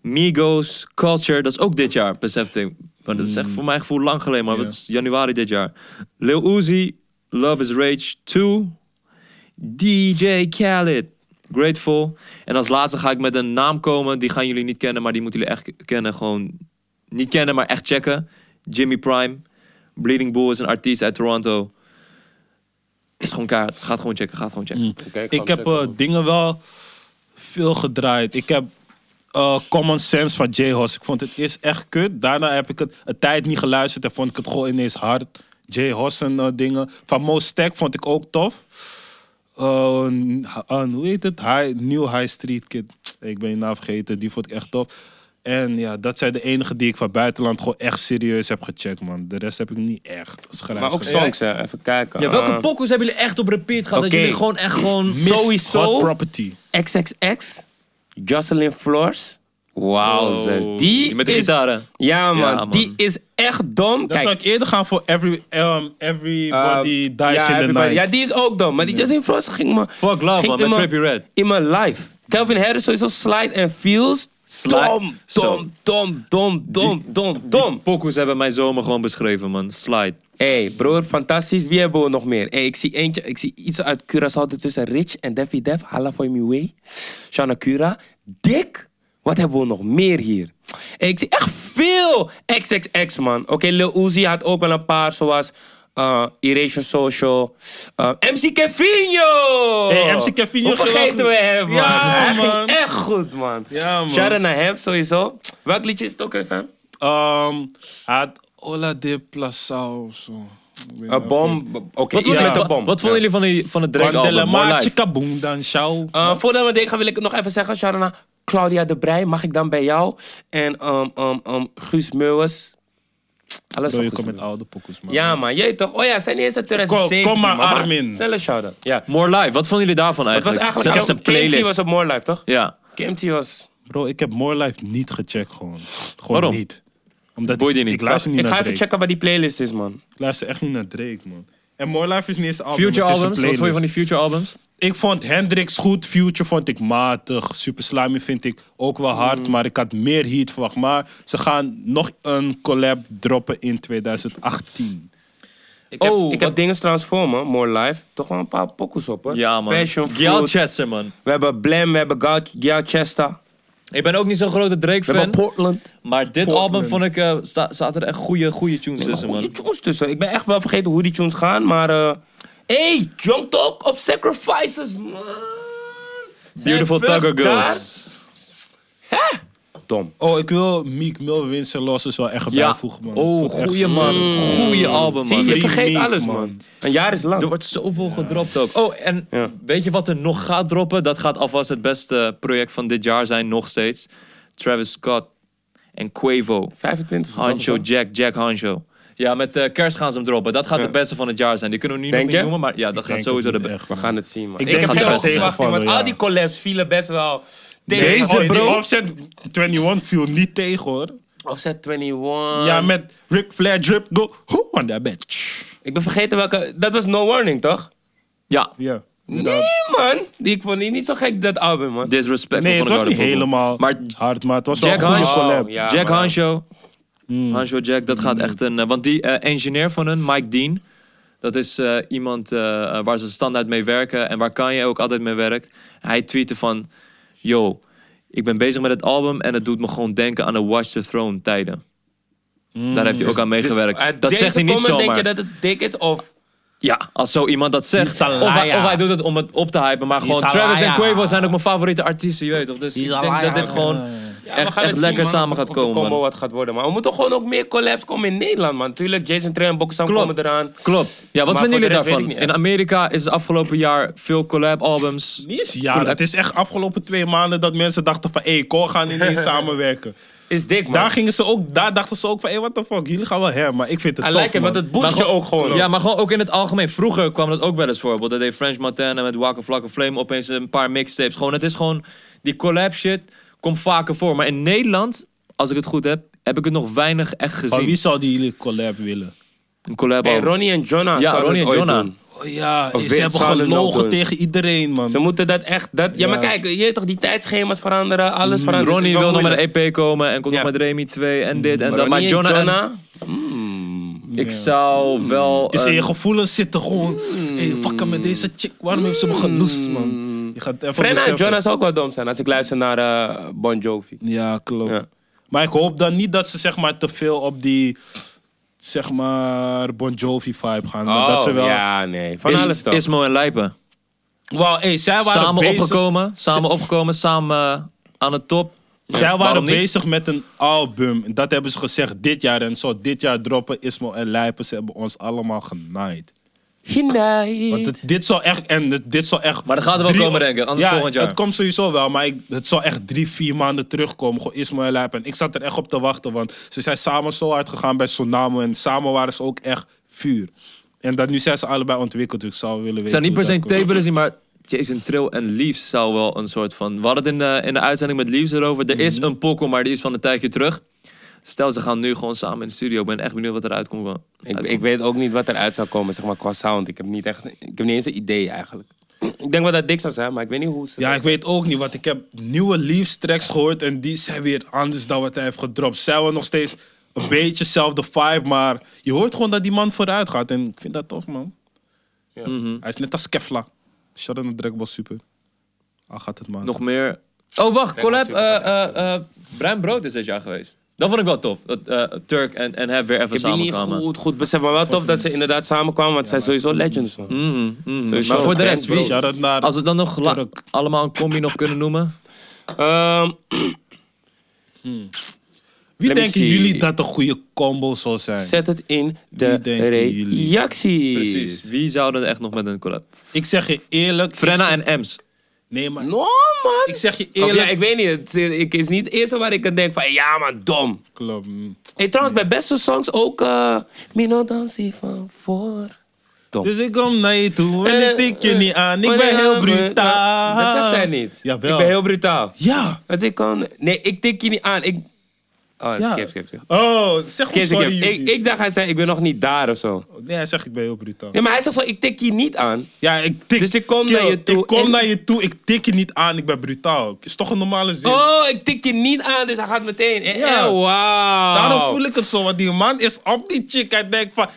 S2: Migos, Culture, dat is ook dit jaar, besefte ik. Maar dat is echt voor mijn gevoel lang geleden, maar
S3: Mm. Ja.
S2: dat is januari dit jaar. Lil Uzi, Love is Rage 2. DJ Khaled, Grateful. En als laatste ga ik met een naam komen, die gaan jullie niet kennen, maar die moeten jullie echt kennen. Gewoon niet kennen, maar echt checken. Jimmy Prime, Bleeding Bull is een artiest uit Toronto. Is gewoon kaart. Gaat gewoon checken, gaat gewoon checken.
S3: ik heb eh, dingen wel veel gedraaid. Ik heb eh, Common Sense van J-Hos. Ik vond het eerst echt kut. Daarna heb ik het een tijd niet geluisterd en vond ik het gewoon ineens hard. J-Hos en eh, dingen. Van Mo Stack vond ik ook tof. Eh, n- ha- eh, hoe heet het? High, New High Street Kid. Ik ben je naam vergeten. Die vond ik echt tof. En ja, dat zijn de enige die ik van buitenland gewoon echt serieus heb gecheckt, man. De rest heb ik niet echt. Schrijf,
S1: Maar ook songs, hè. Even kijken.
S2: Ja, welke
S1: Eh,
S2: pokoes hebben jullie echt op repeat gehad?
S1: Oké.
S2: Dat jullie gewoon echt gewoon...
S1: Sowieso.
S3: Hot Property.
S1: XXX, Jocelyn Floors. Wauw, zes.
S2: Oh,
S1: Die
S2: met de
S1: is,
S2: gitaren.
S1: Ja man,
S2: man.
S1: die is echt dom.
S3: Dan
S1: Kijk,
S3: zou ik eerder gaan voor every, um,
S1: eh,
S3: Everybody Dies
S1: ja,
S3: in the
S1: everybody-
S3: Night.
S1: Ja, die is ook dom. Maar die Jocelyn Floors ging me...
S2: Fuck love,
S1: ging
S2: man,
S1: in
S2: met
S1: me-
S2: Trippie Redd.
S1: In mijn life. Calvin Harris sowieso slide en feels.
S2: Slide-
S1: Dom,
S2: Zo.
S1: dom, dom, dom, dom, dom, dom.
S2: Pokoes hebben mijn zomer gewoon beschreven, man. Slide.
S1: Hey broer, fantastisch. Wie hebben we nog meer? Hey, ik zie eentje, ik zie iets uit Curaçao tussen Rich en Daffy Def. Hala for me way. Shana Cura. Dick. Wat hebben we nog meer hier? Hey, ik zie echt veel XXX, man. Oké, Lil Uzi had ook wel een paar, zoals eh Erasure Social. eh, MC Kevinho!
S3: Hey, MC Kevinho
S1: Hoe vergeten
S3: ging
S1: we
S3: ook-
S1: hem, man?
S3: Ja,
S1: Hij ging
S3: man.
S1: echt goed, man.
S3: Ja, man.
S1: Shout-out naar hem, sowieso. Welk liedje is het ook even?
S3: Ehm, hij had Ola de Plaza of zo. Ik weet
S1: Een
S3: niet of
S1: bom. Oké,
S2: Wat,
S1: iets
S2: vonden-
S1: met
S2: wa-
S1: een bom.
S2: wat vonden jullie van, die, van het
S3: ik- Bandela
S2: Drake-album? My
S3: maatje,
S2: Life?
S3: kaboom, dan sjouw.
S1: Uh, voordat we dit gaan, wil ik het nog even zeggen, Sharana. Claudia de Brij, mag ik dan bij jou? En ehm, ehm, ehm, Guus Meuwens. Alles
S3: Bro,
S1: van
S3: je
S1: Guus
S3: komt met
S1: Meuwens.
S3: oude pokkers, man.
S1: Ja, man, jij toch? Oh ja, zijn eerste 2017.
S3: Kom- kom maar,
S1: man.
S3: Armin.
S1: Snelle shout-out. Ja.
S2: More Life, wat vonden jullie daarvan
S1: Het was
S2: eigenlijk?
S1: eigenlijk...
S2: Zelfs een
S1: KMT
S2: playlist.
S1: was op More Life, toch?
S2: Ja,
S1: KMT was...
S3: Bro, ik heb More Life niet gecheckt gewoon. Gewoon
S2: Waarom?
S3: niet. Omdat
S2: Boeide
S3: ik,
S2: je niet.
S3: ik luister niet
S1: Ik ga
S3: naar
S1: even
S3: Drake.
S1: checken wat die playlist is, man.
S3: Ik luister echt niet naar Drake, man. En More Life is niet eens een album,
S2: Future
S3: het is een
S2: albums. Wat vond je van die
S3: playlist.
S2: Future albums?
S3: Ik vond Hendrix goed, Future vond ik matig. Super Slimy vind ik ook wel hard, maar ik had meer heat verwacht. Maar ze gaan nog een collab droppen in 2018.
S1: Ik heb,
S2: Oh,
S1: ik
S2: wat-
S1: heb dingen trouwens voor me, More Life. Toch wel een paar pokkels op, hoor.
S2: Ja, man.
S1: Passion
S2: Gail
S1: Fruit.
S2: Chester, man.
S1: We hebben Blam, we hebben Gal- Gail Chester.
S2: Ik ben ook niet zo'n grote
S1: We hebben
S2: Drake-fan.
S1: Portland.
S2: Maar dit
S3: Portland.
S2: album vond ik, eh, sta- zaten er echt goede, goede tunes tussen,
S1: goede
S2: man.
S1: tunes tussen. Ik ben echt wel vergeten hoe die tunes gaan, maar... eh hey, Young Talk op Sacrifices, man! Zijn
S2: Beautiful
S1: first
S2: Tugger
S1: daar-
S2: Girls.
S1: Dom.
S3: Oh, ik wil Meek Mill wins en losses dus wel echt
S2: Ja.
S3: bijvoegen, man.
S2: Oh,
S3: Vond ik echt
S2: goeie
S3: sterk.
S2: man. Goeie album,
S1: Mm. Zie je,
S2: man.
S1: je vergeet
S3: Remake,
S1: alles, man.
S3: man.
S1: Een jaar is lang.
S2: Er wordt zoveel gedropt ook. Oh, en
S1: Ja.
S2: weet je wat er nog gaat droppen? Dat gaat alvast het beste project van dit jaar zijn, nog steeds. Travis Scott en Quavo.
S1: 25. is
S2: Hancho,
S1: dat wel.
S2: Jack, Jack Hancho. Ja, met eh, kerst gaan ze hem droppen. Dat gaat de beste van het jaar zijn. Die kunnen we nu
S1: Denk
S2: nog niet
S1: je?
S2: noemen, maar ja, dat
S3: Denk
S2: gaat
S3: het
S2: sowieso de
S3: niet
S2: beste.
S3: echt,
S1: We
S3: man.
S1: gaan het zien, man.
S3: Ik denk
S1: heb
S2: dat
S1: geen
S2: het best
S1: verwachting,
S3: wel
S1: want
S3: vallen,
S1: al
S3: ja.
S1: die collabs vielen best wel tegen.
S3: Deze,
S1: Oh,
S3: die
S1: die
S3: offset 21 viel niet tegen hoor.
S1: Offset
S2: Ah.
S1: 21.
S3: ja, met Ric Flair drip go who on that bitch.
S1: Ik ben vergeten welke... Dat was No Warning, toch?
S2: Ja,
S3: Ja.
S1: Nee, man. Ik vond die niet zo gek, dat album, man.
S2: disrespect
S3: Nee,
S2: van
S3: het
S2: de
S3: was niet
S2: Garden Purple.
S3: helemaal
S2: Maar
S3: hard, maar het was wel
S2: Jack
S3: een goede
S2: Hans-
S3: collab.
S1: Oh, ja.
S2: Jack
S1: man.
S2: Hanshow.
S3: Hmm.
S2: Hanshow Jack, dat gaat echt een... eh, want die eh, engineer van hun, Mike Dean... Dat is eh, iemand eh, eh, waar ze standaard mee werken... en waar Kanye ook altijd mee werkt. Hij tweette van... Yo, ik ben bezig met het album... en het doet me gewoon denken aan de Watch the Throne tijden.
S3: Hmm.
S2: Daar heeft hij ook aan meegewerkt.
S1: Uit Dus-
S2: dat
S1: deze
S2: zegt hij niet
S1: comment
S2: zomaar.
S1: denk je dat het dik is of...
S2: Ja, als zo iemand dat zegt.
S3: Die is een
S2: Of hij,
S3: liar.
S2: of hij doet het om het op te hypen. Maar gewoon
S3: is een
S2: Travis en
S3: liar.
S2: Quavo zijn ook mijn favoriete artiesten, je weet toch? Dus
S3: Die
S2: ik
S3: is
S2: denk
S3: een
S2: dat
S3: liar.
S2: dit gewoon
S1: Ja,
S2: echt, echt lekker
S1: man,
S2: samen
S1: of-
S2: gaat
S1: of
S2: komen.
S1: De combo
S2: man.
S1: wat gaat worden. Maar we moeten gewoon ook meer collabs komen in Nederland, man. Tuurlijk, Jason Trey en Boxsang
S2: Klopt.
S1: komen eraan.
S2: Klopt. Ja, wat
S1: Maar
S2: vinden
S1: voor de
S2: jullie
S1: rest weet
S2: daarvan?
S1: ik niet,
S2: in
S1: hè.
S2: Amerika is het afgelopen jaar veel collab-albums.
S3: Niet eens jaren. Het is echt afgelopen twee maanden dat mensen dachten van... hé, hey, Cor gaan ineens samenwerken.
S1: Is dik, man.
S3: Daar, gingen ze ook, daar dachten ze ook van... hé, hey, what the fuck, jullie gaan wel her, maar ik vind het
S1: I
S3: tof,
S1: like it, want
S3: man.
S1: het boost
S2: Maar
S1: je
S2: gewoon-
S1: ook gewoon.
S2: Ja, maar gewoon ook in het algemeen. Vroeger kwam dat ook wel eens voor. Dat deed French Montana met Waka Flocka Flame opeens een paar mixtapes. Gewoon, het is gewoon... Die collab shit komt vaker voor. Maar in Nederland, als ik het goed heb, heb ik het nog weinig echt
S3: Van wie
S2: gezien.
S3: zouden jullie collab willen?
S2: Een collab
S1: Hey,
S2: album.
S1: Ronnie en Jonna
S2: Ja,
S1: zouden
S2: Ronnie
S1: het
S2: en
S1: ooit
S2: Jonna.
S1: doen.
S3: Oh ja,
S1: Of
S3: ze
S1: Wit
S3: hebben
S1: zouden het
S3: gelogen
S1: nog doen.
S3: tegen iedereen, man.
S1: Ze moeten dat echt... Dat, ja, maar
S3: Ja.
S1: kijk, je weet toch, die tijdsschema's veranderen, alles verandert. dus het is
S2: Ronnie
S1: wel
S2: wil nog met
S1: moeilijk.
S2: een EP komen en komt
S1: Ja.
S2: nog met Remy 2 en dit en dat.
S1: Ronnie
S2: Maar
S1: en
S2: Jonah, en- Hmm.
S1: Jonna... Hmm.
S2: ik zou wel...
S3: Is in
S1: Eh,
S2: een-
S3: je gevoelens zitten gewoon... hey, fuck met deze chick, waarom heeft ze me genoest, man? Je gaat even
S1: Hmm. Frenna en
S3: beseffen.
S1: Jonna zou ook wel dom zijn als ik luister naar eh, Bon Jovi.
S3: Ja, klopt.
S1: Ja.
S3: Maar ik hoop dan niet dat ze zeg maar te veel op die zeg maar Bon Jovi vibe gaan.
S2: Oh,
S3: maar dat ze wel.
S1: Oh, ja, nee. Van
S2: Is-
S1: alles toch.
S2: Ismo en Lijpen.
S3: Wauw, hey, zij waren
S2: Samen
S3: bezig.
S2: opgekomen, samen opgekomen, samen eh, aan de top.
S3: Zij waren
S2: Waarom niet?
S3: bezig met een album. En Dat hebben ze gezegd dit jaar. En zo dit jaar droppen Ismo en Lijpen. Ze hebben ons allemaal genaaid.
S1: Hyundai.
S3: Want het- dit zal echt. En het- dit zal echt
S2: Maar dat gaat er wel
S3: drie-
S2: komen, denk ik. Anders
S3: ja,
S2: volgend jaar.
S3: Het komt sowieso wel. Maar ik, het zal echt drie, vier maanden terugkomen. Gewoon Ismo en Lijpen. En ik zat er echt op te wachten. Want ze zijn samen zo hard gegaan bij Sonamo. En samen waren ze ook echt vuur. En dat nu zijn ze allebei ontwikkeld. Dus ik zou willen weten.
S2: Het zijn niet
S3: hoe
S2: per se
S3: dat
S2: een
S3: komt.
S2: tape zien, maar Jason Trill en Leaves zou wel een soort van... We hadden het in de, in de uitzending met Leaves erover. Er is een pokkel, maar die is van een tijdje terug. Stel, ze gaan nu gewoon samen in de studio. Ik ben echt benieuwd wat eruit komt. wel.
S1: Ik,
S2: Uitkomt.
S1: ik weet ook niet wat eruit zou komen, zeg maar, qua sound. Ik heb niet echt... Ik heb niet eens een idee, eigenlijk. Ik denk wel dat dik zou zijn, maar ik weet niet hoe ze...
S3: Ja, ik weet ook niet, want ik heb nieuwe Leaves tracks gehoord en die zijn weer anders dan wat hij heeft gedropt. Zijn we nog steeds een beetje dezelfde vibe, maar je hoort gewoon dat die man vooruit gaat en ik vind dat tof, man. Mhm.
S1: Ja.
S3: Hij is net als Kefla. Shout out naar Dragon Ball Super. Al gaat het, man.
S2: Nog meer... Oh,
S1: Denk
S2: wacht.
S1: wel
S2: Collab.
S1: super
S2: eh, eh, eh, Bruin Brood is dit jaar geweest. Dat vond ik wel tof. Dat eh, Turk en, en Hef weer even
S1: Ik heb die niet
S2: samenkwamen.
S1: goed, goed beseft, maar wel tof dat ze inderdaad samenkwamen, want zij zijn sowieso legends, man.
S2: Mhm, mhm.
S1: Sowieso.
S2: Maar voor de rest,
S1: Bruin
S2: wie?
S1: Brood.
S3: Shout out naar...
S2: Als we dan nog la-
S3: Turk.
S2: allemaal een combi nog kunnen noemen.
S1: Ehm, let
S3: Wie
S1: me
S3: denken
S1: see.
S3: jullie dat een goede combo zou zijn?
S1: zet het in de
S3: Wie denken jullie?
S1: reacties.
S2: Precies. Wie zouden er echt nog met een collab?
S3: Ik zeg je eerlijk... ik
S2: Frenna
S3: zeg-
S2: en Ems.
S3: Nee, maar...
S1: No, man.
S3: Ik zeg je
S1: Of
S3: eerlijk...
S1: ja, ik weet niet. Het is- ik is niet het eerste waar ik aan denk van, ja man, dom.
S3: Klopt. mm.
S1: Hey, trouwens, bij beste songs ook eh Mino Dansie van voor.
S3: Dus ik kom naar je toe en ik tik je niet aan. Ik
S1: Eh, Maar
S3: ben
S1: nee,
S3: heel
S1: maar-
S3: brutaal.
S1: Dat zegt hij niet.
S3: Jawel.
S1: Ik ben heel brutaal.
S3: Ja.
S1: Want ik kan... Nee, ik tik je niet aan. Ik... Oh,
S3: Ja.
S1: skip, skip, skip.
S3: Oh, zeg
S1: Skip,
S3: maar
S1: skip.
S3: sorry.
S1: Ik,
S3: Yuki.
S1: ik dacht hij zei, ik ben nog niet daar of zo.
S3: Nee, hij zegt ik ben heel brutaal.
S1: Nee, maar hij zegt van, ik tik je niet aan.
S3: Ja, ik tik.
S1: Dus ik kom
S3: Kill,
S1: naar je toe
S3: Ik kom
S1: en-
S3: naar je toe, ik tik je niet aan, ik ben brutaal. Is toch een normale zin?
S1: Oh, ik tik je niet aan, dus hij gaat meteen. Eh,
S3: Ja.
S1: eh, wauw.
S3: Daarom voel ik het zo, want die man is op die chick. Hij denkt van.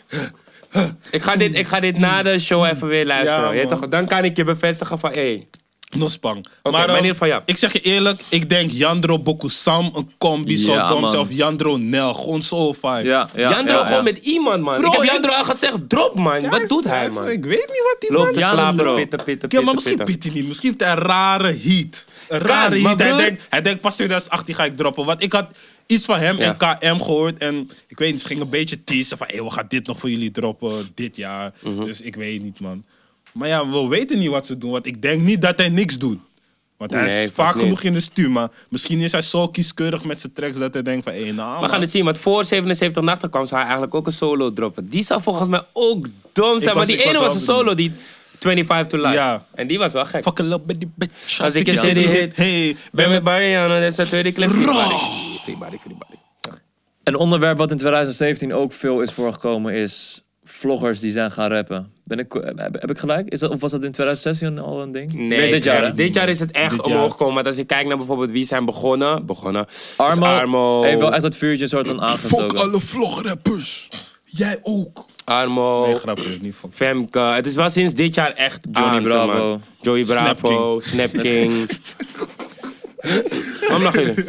S1: Ik ga dit, ik ga dit na de show even weer luisteren.
S3: Ja,
S1: Je weet
S3: man.
S1: toch, dan kan ik je bevestigen van, hé.
S3: Nospang.
S1: maar in ieder geval, ja.
S3: eh, Ik zeg je eerlijk, ik denk Jandro Bokusam een combi
S2: Ja,
S3: zo dom
S2: man.
S3: zelf. Jandro Nel, gewoon zo fijn.
S2: Ja, ja,
S1: Jandro
S2: ja, ja.
S1: gewoon met iemand, man.
S3: Bro,
S1: ik heb
S3: ik-
S1: Jandro al gezegd, drop, man.
S3: Ja,
S1: Wat doet
S3: ja,
S1: hij,
S3: ja,
S1: man?
S3: Ik weet niet wat die
S1: Loopt te
S3: man
S2: Jandro.
S1: slapen, pitten, pitten, pitten,
S3: Ja, maar misschien
S1: pitten.
S3: piet hij niet. Misschien heeft hij een rare heat. Een rare
S1: maar
S3: heat. Hij
S1: broer-
S3: denkt, hij denkt pas 2018 ga ik droppen. Want ik had iets van hem
S1: Ja.
S3: en KM gehoord. En ik weet niet, ze gingen een beetje teasen van... Hey, we gaan dit nog voor jullie droppen dit jaar.
S1: Mhm.
S3: Dus ik weet niet, man. Maar ja, we weten niet wat ze doen. Want ik denk niet dat hij niks doet. Want hij
S1: Nee,
S3: is
S1: vast
S3: vaak
S1: niet.
S3: genoeg in de stuur. Maar misschien is hij zo kieskeurig met zijn tracks dat hij denkt van... Hey, nou,
S1: We gaan het zien, want voor 77 nachten kwam ze eigenlijk ook een solo droppen. Die zou volgens mij ook dom zijn, maar
S3: was-
S1: die
S3: ik was
S1: ene was
S3: wel
S1: een solo
S3: benieuwd.
S1: die 25 to Life.
S3: Ja.
S1: En die was wel gek.
S3: Fuck a little bitty bitch.
S1: Als ik een
S3: je
S1: city hit,
S3: Hey,
S1: ben met Barry aan en dat is de tweede clip. Free
S3: Raw.
S1: Body, Free Body, Free Body.
S2: Een onderwerp wat in 2017 ook veel is voorgekomen is vloggers die zijn gaan rappen. Ben ik, heb, heb ik gelijk? Is dat, of was dat in 2016 al een ding?
S1: Nee,
S2: dit jaar. hè?
S1: dit jaar is het echt
S3: Dit jaar.
S1: omhoog gekomen. Want als je kijkt naar bijvoorbeeld wie zijn begonnen. Begonnen. is
S2: Armo,
S1: Armo,
S2: heeft wel echt dat vuurtje soort van
S3: Fuck
S2: aangestoken.
S3: alle vlograppers. Jij ook.
S1: Armo,
S3: Nee, grapje, niet fuck.
S1: Femke. Het is wel sinds dit jaar echt
S2: Johnny
S1: aan, zeg maar.
S2: Bravo.
S1: Joey Bravo, Snap King. Waarom lachen jullie?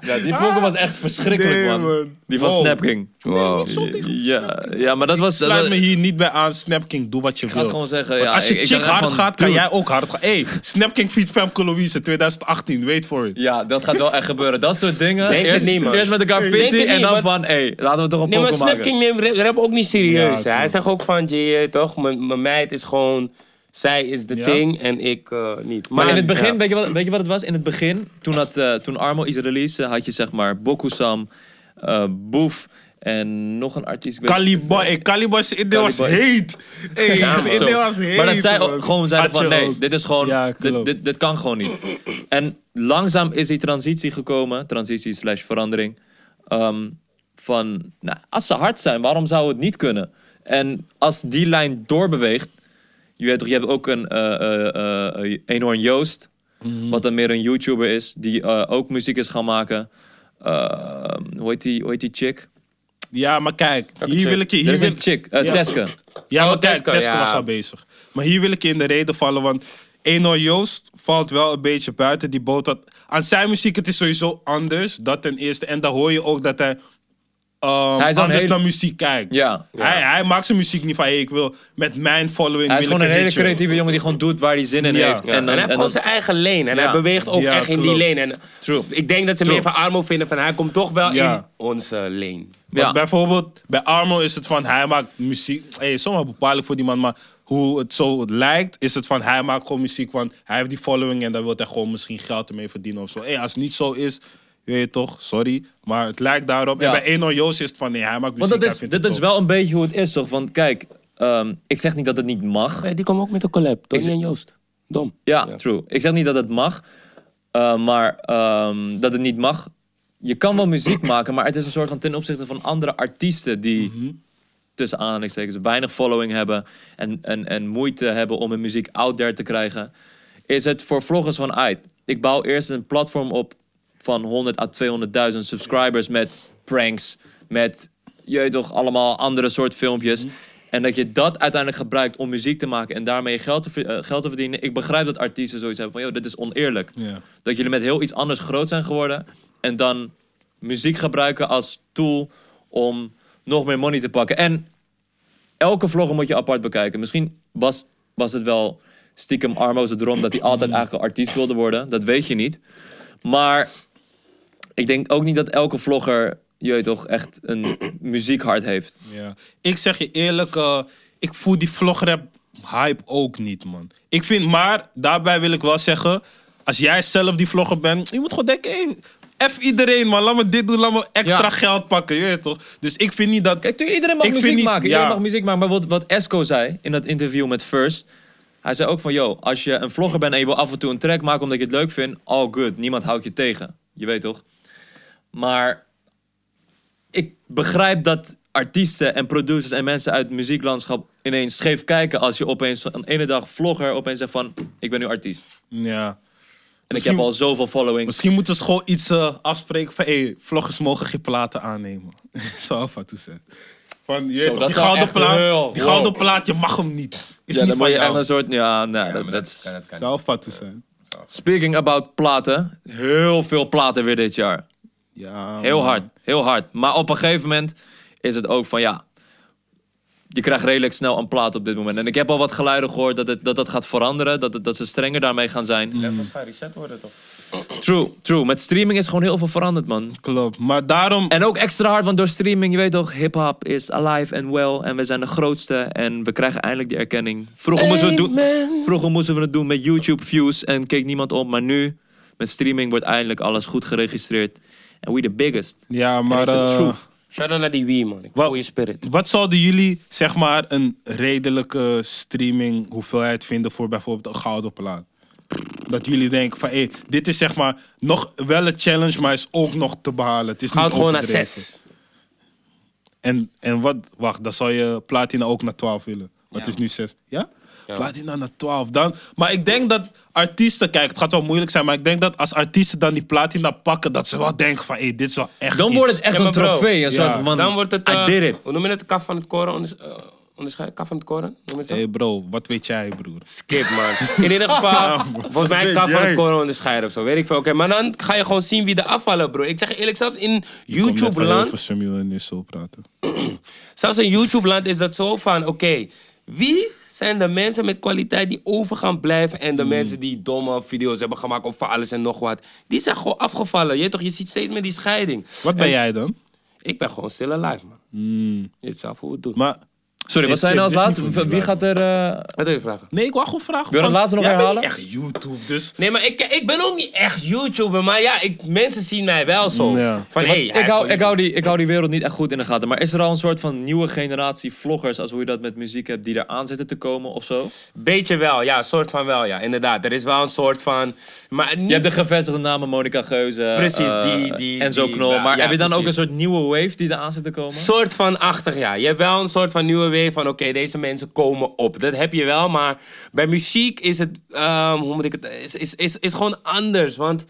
S2: Ja, die poker was echt verschrikkelijk,
S3: Nee,
S2: man.
S3: man. Oh.
S2: Die van
S3: Wow.
S2: Snapking.
S1: Wow.
S2: Ja, ja, maar dat was... Dat,
S3: Sluit
S2: was-
S3: me hier niet bij aan. Snapking, doe wat je
S2: ik ga het
S3: wil.
S2: gewoon zeggen,
S3: Want
S2: ja.
S3: als je
S2: ik- ik
S3: chick
S2: dacht echt
S3: hard
S2: van,
S3: gaat, kan
S2: dude,
S3: jij ook hard gaan. Hey, Snapking feat Femke Louise 2018, wait for it.
S2: Ja, dat gaat wel echt gebeuren. Dat soort dingen.
S1: Denk het
S2: eerst,
S1: niet, man.
S2: eerst met elkaar
S1: Denk het
S2: fitty en
S1: niet,
S2: dan
S1: want-
S2: van... Hé, laten we toch een
S1: Nee, maar
S2: poker
S1: Snap
S2: maken.
S1: King neemt rap- rap ook niet serieus. hè.
S3: Ja,
S1: hij
S3: klopt.
S1: zegt ook van, je eh, toch, mijn mijn meid is gewoon... Zij is de
S3: Ja.
S1: thing en ik eh, niet.
S2: Maar in het begin,
S1: ja.
S2: weet, je wat, weet je wat het was? In het begin, toen, had, eh, toen Armo iets release, had je zeg maar Bokusam, eh, Boef en nog een artiest. ik weet-
S3: Caliboy, hey, Caliboy's idee was
S2: Caliboy.
S3: heet. Hey,
S2: Ja,
S3: zijn
S2: man.
S3: idee
S2: Zo.
S3: was heet.
S2: Maar dat zij ook
S3: man.
S2: gewoon zeiden
S3: Had
S2: van
S3: je
S2: nee,
S3: ook.
S2: dit is gewoon,
S3: Ja,
S2: dit,
S3: klopt.
S2: dit, dit kan gewoon niet. En langzaam is die transitie gekomen, transitie slash verandering, ehm, van nou, als ze hard zijn, waarom zou het niet kunnen? En als die lijn doorbeweegt, je weet toch, je hebt ook een eh eh, eh, eh, Eenhoorn Joost,
S3: Mhm.
S2: wat dan meer een YouTuber is, die eh, ook muziek is gaan maken. Eh, hoe, heet die, hoe heet die chick?
S3: Ja, maar kijk, hier wil ik je...
S2: Er
S3: Hier
S2: is
S3: wil,
S2: een chick, eh,
S3: Ja.
S2: Teske.
S3: ja, maar
S1: Oh,
S3: kijk,
S1: Tesco,
S3: Tesco
S1: ja.
S3: was al bezig. Maar hier wil ik je in de reden vallen, want Eno Joost valt wel een beetje buiten die boot. want Aan zijn muziek, het is sowieso anders, dat ten eerste. En daar hoor je ook dat hij... ehm,
S2: Hij is al een
S3: anders
S2: hele-
S3: naar muziek kijkt.
S2: Ja.
S3: Hij, hij maakt zijn muziek niet van, hey, ik wil met mijn following...
S2: Hij is
S3: wil
S2: gewoon
S3: ik
S2: een hele
S3: hitje.
S2: creatieve jongen die gewoon doet waar hij zin in
S3: Ja.
S2: heeft.
S1: Ja, En,
S2: dan-
S1: hij heeft
S2: en
S1: gewoon
S2: dan-
S1: zijn eigen lane. En
S2: Ja.
S1: hij beweegt ook
S3: Ja,
S1: echt in die
S3: klopt.
S1: lane. En
S2: True.
S1: Ik denk dat ze
S2: True.
S1: meer van Armo vinden van hij komt toch wel
S3: Ja.
S1: in onze lane.
S3: Want
S2: ja.
S3: bijvoorbeeld bij Armo is het van hij maakt muziek. Hey, sommige bepaallijk voor die man, maar hoe het zo lijkt, is het van hij maakt gewoon muziek. Want hij heeft die following en daar wil hij gewoon misschien geld ermee verdienen of zo. Hey, als het niet zo is, weet je toch, sorry. Maar het lijkt daarop.
S2: Ja.
S3: En bij Eno Joost is het van nee, hij maakt muziek.
S2: Want dat
S3: hij
S2: is,
S3: vindt
S2: dat
S3: het
S2: is
S3: dope.
S2: wel een beetje hoe het is, toch? Want kijk, ehm, ik zeg niet dat het niet mag.
S1: die komen ook met een collab. Tony
S2: zeg-
S1: en Joost. Dom.
S2: Ja, true. Ik zeg niet dat het mag, eh, maar ehm, dat het niet mag. Je kan wel muziek maken, maar het is een soort van ten opzichte van andere artiesten die tussen aanhalingstekens weinig following hebben en, en, en moeite hebben om hun muziek out there te krijgen, is het voor vloggers van uit. Ik bouw eerst een platform op van 100 à 200.000 subscribers met pranks, met je weet toch allemaal andere soort filmpjes. En dat je dat uiteindelijk gebruikt om muziek te maken en daarmee geld te, ver- eh, geld te verdienen. Ik begrijp dat artiesten zoiets hebben van, joh, dit is oneerlijk.
S3: Ja.
S2: Dat jullie met heel iets anders groot zijn geworden. En dan muziek gebruiken als tool om nog meer money te pakken. En elke vlogger moet je apart bekijken. Misschien was, was het wel stiekem Armo's droom dat hij altijd eigenlijk een artiest wilde worden. Dat weet je niet. Maar ik denk ook niet dat elke vlogger, je weet toch, echt een muziekhart heeft.
S3: Ja. Ik zeg je eerlijk, eh, ik voel die vlograp hype ook niet, man. Ik vind, maar daarbij wil ik wel zeggen, als jij zelf die vlogger bent, je moet gewoon denken, hey, F iedereen, man. Laat me dit doen, laat me extra
S2: Ja.
S3: geld pakken, je weet toch? Dus ik vind niet dat...
S2: Kijk, tuurlijk, iedereen mag
S3: Ik vind
S2: muziek
S3: niet-
S2: maken.
S3: ja.
S2: Iedereen mag muziek maken. Maar wat, wat Esco zei in dat interview met First. Hij zei ook van, yo, als je een vlogger bent en je wil af en toe een track maken omdat je het leuk vindt. All good. Niemand houdt je tegen. Je weet toch? Maar ik begrijp dat artiesten en producers en mensen uit het muzieklandschap ineens scheef kijken als je opeens van een ene dag vlogger opeens zegt van, ik ben nu artiest. En
S3: Ja.
S2: ik
S3: Misschien-
S2: heb al zoveel following.
S3: Misschien moeten ze gewoon iets eh, afspreken van, hey, vloggers mogen geen platen aannemen. Zo Alfa toezet. Van, je weet toch,
S2: dat
S3: die
S2: zou
S3: gouden
S2: echt heel-
S3: plaat, die
S2: wow.
S3: gouden plaat, je mag hem niet. Is
S2: Ja,
S3: niet
S2: dan moet
S3: van
S2: je echt een
S3: jou.
S2: soort, ja, nee, dat, dat is...
S4: dat kan
S3: Zou Alfa toezet.
S2: Speaking about platen. Heel veel platen weer dit jaar.
S3: Ja,
S2: Heel
S3: man.
S2: hard, heel hard. Maar op een gegeven moment is het ook van ja. Je krijgt redelijk snel een plaat op dit moment. En ik heb al wat geluiden gehoord dat het, dat, dat gaat veranderen. Dat, het- dat ze strenger daarmee gaan zijn.
S4: Levels gaan reset worden toch?
S2: True, true. Met streaming is gewoon heel veel veranderd, man.
S3: Klopt, maar daarom...
S2: En ook extra hard, want door streaming, je weet toch, hip-hop is alive and well. En we zijn de grootste. En we krijgen eindelijk die erkenning. Vroeger moesten we het doen, vroeger moesten we het doen met YouTube-views en keek niemand op. Maar nu, met streaming, wordt eindelijk alles goed geregistreerd. En we the biggest.
S3: Ja, maar
S2: dat is de
S3: eh,
S2: truth.
S1: Shout out naar die Wii, man. Ik
S3: Wat-
S1: voel je spirit.
S3: Wat zouden jullie, zeg maar, een redelijke streaming hoeveelheid vinden voor bijvoorbeeld een gouden plaat? Dat jullie denken van, hé, dit is zeg maar nog wel een challenge, maar is ook nog te behalen. Het is niet
S1: Houd gewoon naar
S3: overdreven.
S1: 6.
S3: En, en wat, wacht, dan zou je platina ook naar 12 willen. Want het is nu 6. Ja? Platina naar 12. Dan, maar ik denk dat artiesten, kijk, het gaat wel moeilijk zijn, maar ik denk dat als artiesten dan die platina pakken, dat ze wel denken van, hé, dit is wel echt
S2: Dan
S3: iets.
S2: wordt het echt
S1: Ja,
S2: een
S1: maar bro,
S2: trofee. En zo
S3: ja.
S2: van, man,
S1: Dan wordt het... eh,
S2: I did it.
S1: Hoe noem je het? Kaf van het koren? onders- eh, Onderscheid? Kaf van het koren? Noem je het zo?
S3: Hé hey bro, wat weet jij, broer?
S1: Skip, man. In ieder geval, volgens mij
S4: Weet
S1: kan van
S4: jij?
S1: het koren onderscheiden of zo. Weet ik veel. Oké, maar dan ga je gewoon zien wie de afvallen, bro. Ik zeg je eerlijk, zelfs in YouTube-land...
S3: Over Samuel en Nissel praten.
S1: Zelfs in YouTube-land is dat zo van, oké, wie zijn de mensen met kwaliteit die over gaan blijven en de mensen die domme video's hebben gemaakt over alles en nog wat. Die zijn gewoon afgevallen. Je, weet toch, je ziet steeds meer die scheiding.
S3: Wat ben
S1: En
S3: jij dan?
S1: Ik ben gewoon stille live, man. Dit is zelf hoe we het doen.
S3: Hmm. Maar,
S2: Sorry, wat
S3: Dit-
S2: zijn nou als
S3: dit is niet
S2: laatste?
S3: voor
S2: Wie
S3: jullie
S2: gaat er... eh,
S1: Wat wil je vragen?
S3: nee, ik wou gewoon vragen.
S2: Wil je
S3: van-
S2: het laatste nog
S3: jij bent
S2: herhalen?
S3: niet echt YouTube, dus...
S1: Nee, maar ik, ik ben ook niet echt YouTuber, maar ja, ik, mensen zien mij wel zo.
S3: Ja.
S1: Van, hey, hij
S2: ik,
S1: is
S2: hou,
S1: gewoon
S2: ik, hou die, ik hou die wereld niet echt goed in de gaten. Maar is er al een soort van nieuwe generatie vloggers, als hoe je dat met muziek hebt, die er aan zitten te komen of zo?
S1: Beetje wel, ja, soort van wel, ja, inderdaad. Er is wel een soort van. Maar niet,
S2: Je hebt de gevestigde namen Monica Geuze.
S1: Precies,
S2: eh,
S1: die- die-
S2: Enzo
S1: die-
S2: Knol.
S1: ja,
S2: maar
S1: ja,
S2: heb je dan ook een
S1: precies.
S2: soort nieuwe wave die er aan zit te komen?
S1: soort van achtig, ja. Je hebt wel een soort van nieuwe wave van, oké, deze mensen komen op. Dat heb je wel, maar bij muziek is het, ehm, hoe moet ik het, is, is, is, is gewoon anders. Want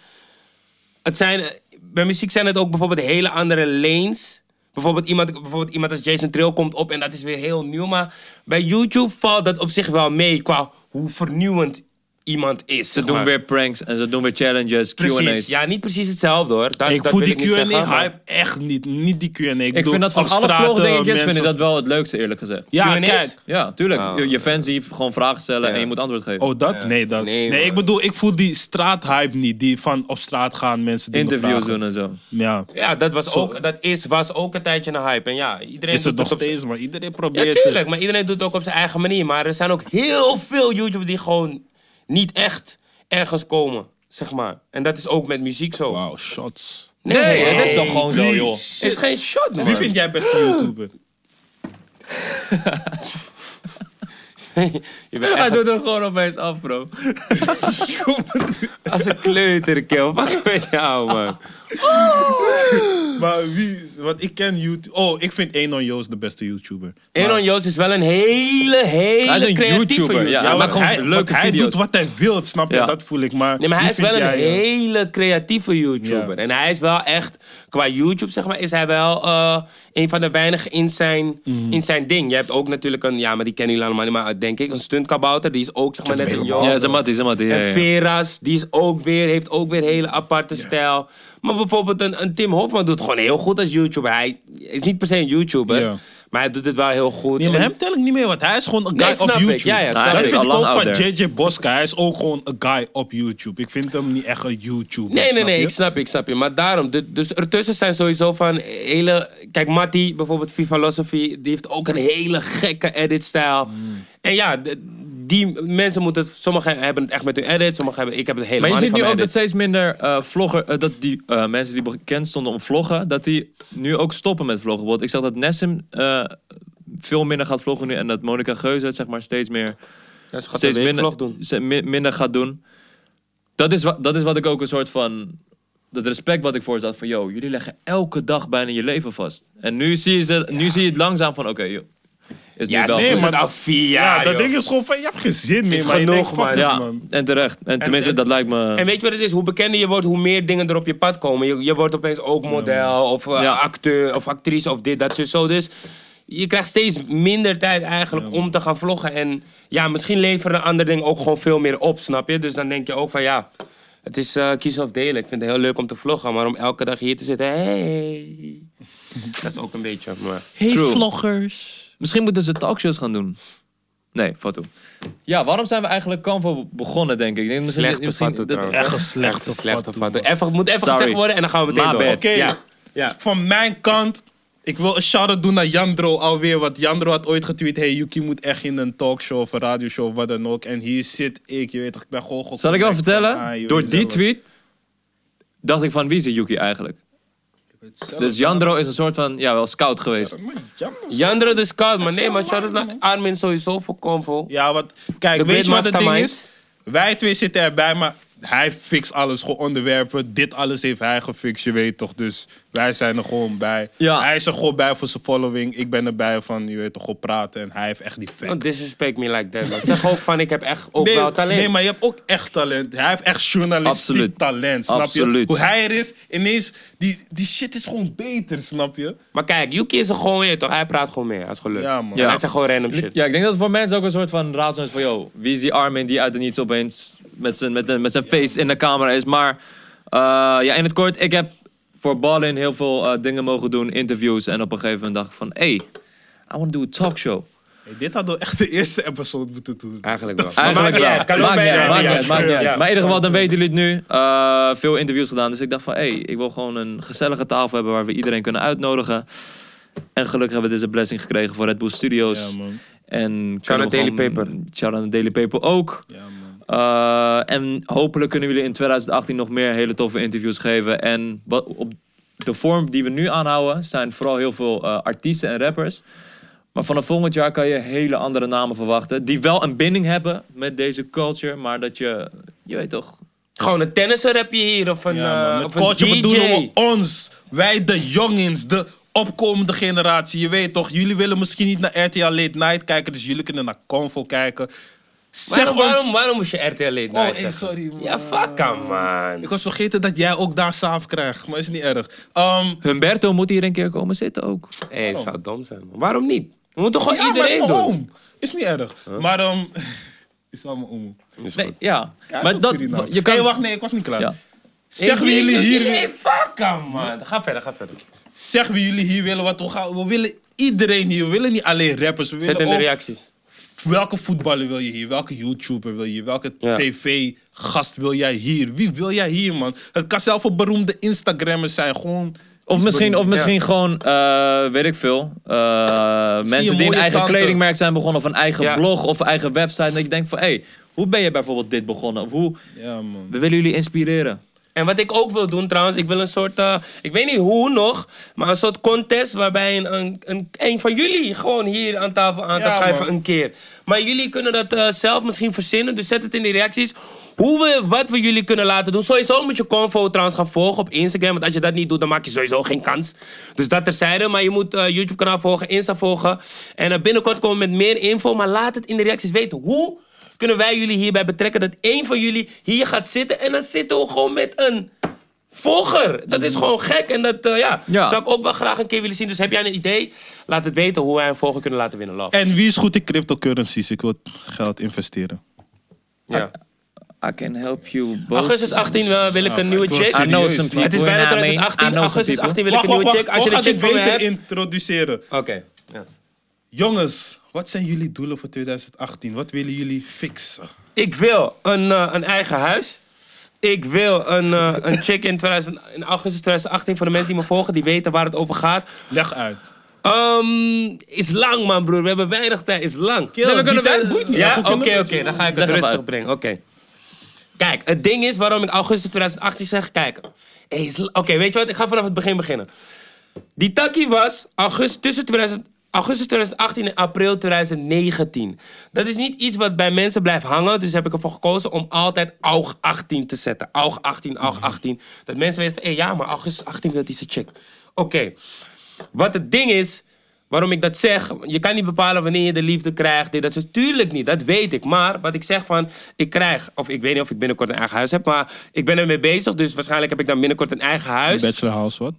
S1: het zijn, eh, bij muziek zijn het ook bijvoorbeeld hele andere lanes. Bijvoorbeeld iemand, bijvoorbeeld iemand als Jason Trill komt op en dat is weer heel nieuw. Maar bij YouTube valt dat op zich wel mee qua hoe vernieuwend iemand is.
S2: Ze
S1: zeg
S2: doen
S1: maar.
S2: weer pranks en ze doen weer challenges,
S1: Precies,
S2: Q&A's.
S1: ja, niet precies hetzelfde hoor. Dat,
S3: ik
S1: dat
S3: voel
S1: wil
S3: die
S1: ik niet zeggen, maar-
S3: Q&A-hype echt niet. Niet die Q&A.
S2: Ik vind dat van alle
S3: eh,
S2: vlogdingetjes vind ik dat wel het leukste, eerlijk gezegd.
S3: Ja,
S1: Q&A's?
S3: kijk.
S2: Ja, tuurlijk. Je, je fans die gewoon vragen stellen
S1: Oh. Ja.
S2: en je moet antwoord geven.
S3: Oh, dat? Nee, dat.
S1: Nee,
S3: Nee,
S1: man.
S3: ik bedoel, ik voel die straathype niet. Die van op straat gaan mensen doen.
S2: Interviews
S3: vragen.
S2: doen en zo.
S3: Ja.
S1: Ja, dat, was ook, dat is, was ook een tijdje een hype. En ja, iedereen
S3: Is het
S1: doet
S3: nog
S1: het op z'n-
S3: steeds, maar iedereen probeert
S1: Ja,
S3: het.
S1: tuurlijk. Maar iedereen doet het ook op zijn eigen manier. Maar er zijn ook heel veel YouTubers die gewoon niet echt ergens komen, zeg maar. En dat is ook met muziek zo.
S3: Wauw, shots.
S1: Nee,
S2: Nee, dat is
S1: toch
S2: toch gewoon zo, joh.
S1: is geen shot, man.
S3: Wie vind jij beste YouTuber?
S1: Je bent
S2: Hij
S1: echt
S2: doet er gewoon opeens af, bro.
S1: als een kleuter, kill. Wat met jou, man.
S3: maar wie, want ik ken YouTube. Oh, ik vind Enon Joost de beste YouTuber.
S1: Enon Joost is wel een hele, hele
S2: Hij is een
S1: creatieve
S2: YouTuber, ja.
S1: YouTuber.
S2: hij
S3: want
S2: maakt gewoon
S3: hij,
S2: leuke
S3: want hij
S2: video's.
S3: doet wat hij wil, snap je?
S2: Ja.
S3: Dat voel ik. Maar,
S1: Nee, maar hij
S3: wie
S1: is wel een
S3: vind jij, eh,
S1: hele creatieve YouTuber.
S3: Ja.
S1: En hij is wel echt, qua YouTube zeg maar, is hij wel eh, een van de weinigen in zijn,
S3: Mhm.
S1: in zijn ding. Je hebt ook natuurlijk een, ja, maar die kennen jullie allemaal niet, maar eh, denk ik, een stuntkabouter. Die is ook zeg maar net een
S2: Ja,
S1: jongen.
S2: Zamatti, Zamatti. Ja,
S1: En
S2: ja.
S1: Veras, die is ook weer, heeft ook weer een hele aparte stijl. Maar bijvoorbeeld een, een Tim Hofman doet het gewoon heel goed als YouTuber. Hij is niet per se een YouTuber,
S3: Ja.
S1: maar hij doet het wel heel goed.
S3: Nee, maar
S1: En-
S3: hem tel ik niet meer, want hij is gewoon een
S1: Nee,
S3: guy op
S1: snap ik.
S3: YouTube.
S1: Ja, ja, snap
S2: ik.
S3: dat
S2: Hij is
S3: vind
S2: al
S3: ik
S2: lang
S3: ook van
S2: out there.
S3: JJ Bosca. Hij is ook gewoon een guy op YouTube. Ik vind hem niet echt een YouTuber.
S1: Nee, nee,
S3: snap
S1: nee,
S3: je?
S1: ik snap je, ik snap je. Maar daarom, du- dus ertussen zijn sowieso van hele... Kijk, Matty, bijvoorbeeld Viva Philosophy, die heeft ook een hele gekke editstijl.
S2: Mm.
S1: En ja, d- die mensen moeten... het- Sommigen hebben het echt met hun edit, sommigen hebben... Ik heb het
S2: Maar
S1: helemaal
S2: je
S1: niet
S2: ziet
S1: van
S2: nu
S1: mijn
S2: ook dat
S1: edit.
S2: steeds minder eh vlogger, eh, dat die eh, mensen die bekend stonden om vloggen, dat die nu ook stoppen met vloggen. Want ik zag dat Nessim eh, veel minder gaat vloggen nu en dat Monica Geuze het zeg maar steeds meer,
S1: Ja, ze gaat
S2: steeds
S1: een
S2: minder,
S1: weekvlog doen.
S2: ze- mi- minder gaat doen. Dat is, wa- dat is wat ik ook een soort van, dat respect wat ik voor ze had van, yo, jullie leggen elke dag bijna je leven vast. En nu zie je, ze, nu zie je het langzaam van, oké, joh, is nu
S1: Ja,
S2: wel
S1: ze
S3: nee,
S2: goed.
S1: doet
S3: maar
S1: het al vier jaar,
S3: Ja, dat
S1: joh.
S3: ding is gewoon van, je hebt geen zin meer.
S1: Is
S3: maar je
S1: genoeg,
S3: denkt, fuck
S1: man.
S3: it,
S2: Ja,
S3: man.
S2: en terecht. En tenminste, dat lijkt me...
S1: En weet je wat het is? Hoe bekender je wordt, hoe meer dingen er op je pad komen. Je, je wordt opeens ook model of eh,
S2: Ja.
S1: acteur of actrice of dit, dat, zo, zo. Dus je krijgt steeds minder tijd eigenlijk om te gaan vloggen. En ja, misschien leveren een ander ding ook gewoon veel meer op, snap je? Dus dan denk je ook van ja, het is eh, kiezen of delen. Ik vind het heel leuk om te vloggen, maar om elke dag hier te zitten, hey. Dat is ook een beetje, maar...
S2: True. Misschien moeten ze talkshows gaan doen. Nee, foto. Ja, waarom zijn we eigenlijk Canvo begonnen, denk ik? ik denk, misschien,
S1: Slecht
S2: misschien-
S1: bevatten
S2: dat-
S1: trouwens.
S3: Echt een slechte
S1: Slechte
S3: fat,
S1: vatten.
S3: man.
S1: Even, moet even
S2: Sorry.
S1: gezegd worden en dan gaan we meteen
S2: My
S1: door.
S2: bad.
S3: Oké.
S1: Ja. ja.
S3: Van mijn kant, ik wil een shout-out doen naar Jandro alweer. Want Jandro had ooit getweet, hey, Yuki moet echt in een talkshow of een radioshow of wat dan ook. En hier zit ik, je weet toch, ik ben gewoon...
S2: Zal ik wel
S3: geconnect van,
S2: vertellen?
S3: ah, je
S2: Door
S3: weet
S2: die
S3: zelf.
S2: tweet dacht ik van wie is die Yuki eigenlijk? Dus Jandro is een soort van, ja, wel scout geweest.
S1: Jandro de Scout, maar nee, maar shout-out naar Armin sowieso voor Convo.
S3: Ja, want kijk,
S1: De
S3: weet je wat het ding
S1: mastermind.
S3: is? Wij twee zitten erbij, maar hij fixt alles, gewoon onderwerpen. Dit alles heeft hij gefixt, je weet toch. Dus wij zijn er gewoon bij.
S2: Ja.
S3: Hij is er gewoon bij voor zijn following. Ik ben erbij van, je weet toch, gewoon praten. En hij heeft echt die vet.
S1: Don't disrespect me like that, man. Zeg ook van, ik heb echt ook wel talent.
S3: nee, maar je hebt ook echt talent. Hij heeft echt journalistiek
S2: Absoluut.
S3: talent, snap je?
S2: Absoluut.
S3: Hoe hij er is, ineens, die, die shit is gewoon beter, snap je?
S1: Maar kijk, Yuki is er gewoon weer, toch? Hij praat gewoon mee, als geluk.
S3: Ja, man.
S1: En
S2: Ja.
S1: Hij zegt gewoon random shit.
S2: Ja, ik denk dat het voor mensen ook een soort van raadsel is van... Yo, wie is die Armin die uit de niets opeens met zijn, met een, met zijn face in de camera is. Maar eh, ja, in het kort, ik heb voor Ballin heel veel eh, dingen mogen doen. Interviews. En op een gegeven moment dacht ik van... Hey, I want to do a talkshow.
S3: Hey, dit hadden we echt de eerste episode moeten doen.
S1: Eigenlijk wel. Maar
S2: Eigenlijk wel.
S1: maakt niet uit, kan ook
S2: Maakt niet
S1: bij de
S2: uit, maakt niet
S1: radio.
S2: uit, maakt niet uit.
S1: Ja.
S2: Maar in ieder geval, dan weten jullie het nu. Eh, veel interviews gedaan. Dus ik dacht van, hey, ik wil gewoon een gezellige tafel hebben waar we iedereen kunnen uitnodigen. En gelukkig hebben we deze blessing gekregen voor Red Bull Studios.
S3: Ja, man.
S2: En
S1: Shout out
S2: kunnen we
S1: Daily
S2: gewoon- Shout out Daily Paper ook.
S3: Ja, man.
S2: Eh, en hopelijk kunnen jullie in 2018 nog meer hele toffe interviews geven. En wat, op de vorm die we nu aanhouden zijn vooral heel veel eh, artiesten en rappers. Maar vanaf volgend jaar kan je hele andere namen verwachten. Die wel een binding hebben met deze culture. Maar dat je, je weet toch.
S1: Gewoon een tennisser heb je hier, of een,
S3: Ja,
S1: eh,
S3: man. Met
S1: of een
S3: coach
S1: DJ.
S3: bedoelen we ons. Wij de jongens, de opkomende generatie. Je weet toch, jullie willen misschien niet naar RTL Late Night kijken, dus jullie kunnen naar Convo kijken. Zeg
S1: Waarom,
S3: ons-
S1: waarom, waarom moest je RTL late
S3: Oh,
S1: night
S3: hey,
S1: zeggen?
S3: sorry, man.
S1: Ja, fuck hem, man.
S3: Ik was vergeten dat jij ook daar saaf krijgt, maar is niet erg. Ehm,
S2: Humberto moet hier een keer komen zitten ook.
S1: Hé, het zou dom zijn. man. Waarom niet? We moeten gewoon
S3: Oh. ja, maar is
S1: iedereen
S3: mijn
S1: doen.
S3: oom. Is niet erg. Maar ehm is allemaal oom.
S1: Is
S2: Nee,
S1: goed.
S2: ja.
S3: Ja, is
S2: maar
S3: ook
S2: dat.
S3: Surinaam.
S2: Je kan,
S3: Nee, wacht, nee, ik was niet klaar.
S2: Ja.
S3: Zeg
S1: Hey,
S3: wie jullie hier
S1: Hey,
S3: willen.
S1: fuck hem, man. Ga verder, ga verder.
S3: Zeg wie jullie hier willen. Want we, gaan, we willen iedereen hier. We willen niet alleen rappers. We willen
S1: Zet in de
S3: ook-
S1: reacties.
S3: Welke voetballer wil je hier? Welke YouTuber wil je? Welke
S1: Ja.
S3: tv-gast wil jij hier? Wie wil jij hier, man? Het kan zelf een beroemde Instagrammers zijn. Gewoon.
S2: Of
S3: iets
S2: misschien, of
S3: beroemds.
S2: misschien gewoon, eh, weet ik veel. eh, mensen die een
S3: mooie
S2: eigen
S3: tante.
S2: kledingmerk zijn begonnen, of een eigen
S1: Ja.
S2: blog of een eigen website. Dat je denkt van, hé, hey, hoe ben je bijvoorbeeld dit begonnen? Of hoe,
S3: Ja, man.
S2: we willen jullie inspireren.
S1: En wat ik ook wil doen trouwens, ik wil een soort, eh, ik weet niet hoe nog, maar een soort contest waarbij een, een, een, een van jullie gewoon hier aan tafel aan
S3: Ja,
S1: te schuiven
S3: man.
S1: een keer. Maar jullie kunnen dat eh, zelf misschien verzinnen, dus zet het in de reacties. Hoe we, wat we jullie kunnen laten doen. Sowieso moet je Convo trouwens gaan volgen op Instagram, want als je dat niet doet, dan maak je sowieso geen kans. Dus dat terzijde, maar je moet eh, YouTube-kanaal volgen, Insta volgen. En eh, binnenkort komen we met meer info, maar laat het in de reacties weten. Hoe kunnen wij jullie hierbij betrekken dat één van jullie hier gaat zitten en dan zitten we gewoon met een volger. Dat is gewoon gek en dat eh, ja,
S2: Ja.
S1: zou ik ook wel graag een keer willen zien. Dus heb jij een idee? Laat het weten hoe wij een volger kunnen laten winnen. Love.
S3: En wie is goed in cryptocurrencies? Ik wil geld investeren.
S1: Ja.
S2: I can help you both.
S1: Augustus 18 wel wil ik een nieuwe
S3: Ah, ik was
S1: chick.
S2: I know some
S3: Serieus,
S2: people.
S1: Het is
S2: you
S1: bijna
S2: know what I mean?
S1: 2018.
S2: I know some
S1: Augustus
S2: people.
S1: 18 wil ik
S3: Wacht,
S1: een nieuwe
S3: wacht,
S1: chick.
S3: wacht.
S1: Als je
S3: Hoe
S1: een
S3: gaat
S1: chick
S3: dit
S1: voor me
S3: beter
S1: hebt.
S3: introduceren?
S1: Oké. Ja.
S3: Jongens, wat zijn jullie doelen voor 2018? Wat willen jullie fixen?
S1: Ik wil een, eh, een eigen huis. Ik wil een, eh, een chick in, 2000, in augustus 2018. Voor de mensen die me volgen, die weten waar het over gaat.
S3: Leg uit.
S1: Ehm, is lang, man, broer. We hebben weinig tijd. Is lang.
S3: Kill, die tijd boeit niet.
S1: Ja,
S3: Goed,
S1: oké,
S3: kunnen we-
S1: oké. dan ga ik
S2: Leg
S1: het
S2: hem
S1: rustig
S2: uit.
S1: brengen. Oké. Kijk, het ding is waarom ik augustus 2018 zeg, kijk. hey, is- oké, weet je wat? Ik ga vanaf het begin beginnen. Die takkie was augustus, tussen 2000 augustus 2018 en april 2019. Dat is niet iets wat bij mensen blijft hangen. Dus heb ik ervoor gekozen om altijd AUG 18 te zetten. AUG 18, AUG 18. Dat mensen weten van, hé ja, maar augustus 18 wil die zijn chick. Oké. Wat het ding is, waarom ik dat zeg... Je kan niet bepalen wanneer je de liefde krijgt. Dit, dat is natuurlijk niet, dat weet ik. Maar wat ik zeg van, ik krijg... Of ik weet niet of ik binnenkort een eigen huis heb. Maar ik ben ermee bezig. Dus waarschijnlijk heb ik dan binnenkort een eigen huis.
S3: Bachelor House, wat?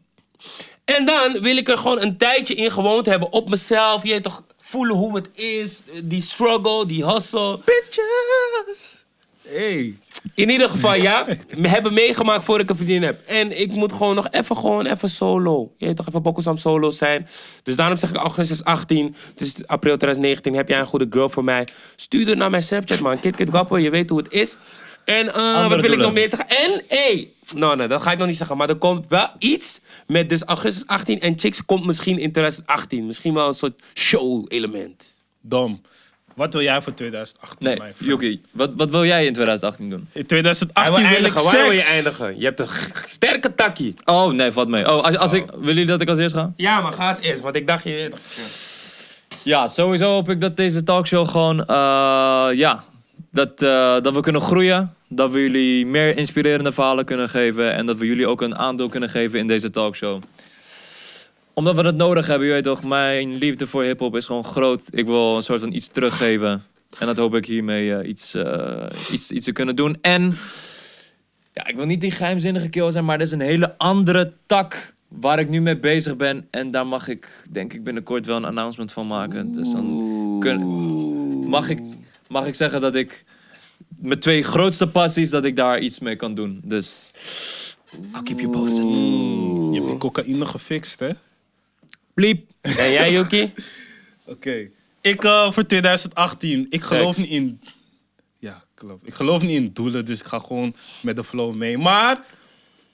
S1: En dan wil ik er gewoon een tijdje in gewoond hebben. Op mezelf. Je weet toch voelen hoe het is. eh, Die struggle, die hustle.
S3: Bitches! Hey.
S1: In ieder geval, ja. We hebben meegemaakt voor ik een vriendin heb. En ik moet gewoon nog even, gewoon even solo. Je weet toch, even Bokkelsam solo zijn. Dus daarom zeg ik augustus 18. Dus april 2019 heb jij een goede girl voor mij. Stuur er naar mijn Snapchat, man. Kit Kit Gappo, je weet hoe het is. En eh, wat wil ik
S3: doelen.
S1: nog meer zeggen? En, hé. Nou, nee, dat ga ik nog niet zeggen. Maar er komt wel iets met dus augustus 18. En Chicks komt misschien in 2018. Misschien wel een soort show-element.
S3: Dom. Wat wil jij voor 2018?
S2: Nee,
S3: mijn vriend?
S2: Joekie, wat, wat wil jij in 2018 doen?
S3: In
S1: Hij wil
S3: 2018 wil ik
S1: eindigen. Waar wil je
S3: seks.
S1: eindigen? Je hebt een g- sterke takkie.
S2: Oh, nee, valt mee. Oh, als, als ik, willen jullie dat ik als eerst ga?
S1: Ja, maar ga eens eerst, want ik dacht je...
S2: Ja, sowieso hoop ik dat deze talkshow gewoon, eh, ja, dat, eh, dat we kunnen groeien. Dat we jullie meer inspirerende verhalen kunnen geven. En dat we jullie ook een aandeel kunnen geven in deze talkshow. Omdat we het nodig hebben, je weet toch, mijn liefde voor hip-hop is gewoon groot. Ik wil een soort van iets teruggeven. En dat hoop ik hiermee eh, iets, eh, iets, iets te kunnen doen. En ja, ik wil niet die geheimzinnige kill zijn, maar er is een hele andere tak waar ik nu mee bezig ben. En daar mag ik, denk ik, binnenkort wel een announcement van maken. Dus dan kun- mag, ik, mag ik zeggen dat ik mijn twee grootste passies, dat ik daar iets mee kan doen. Dus I'll keep you posted.
S3: Je hebt die cocaïne gefixt, hè? Oké.
S2: Bliep.
S1: En jij, Yuki?
S3: Ik eh, voor 2018. Ik geloof
S2: Seks.
S3: niet in. Ja, klopt. Ik geloof niet in doelen, dus ik ga gewoon met de flow mee. Maar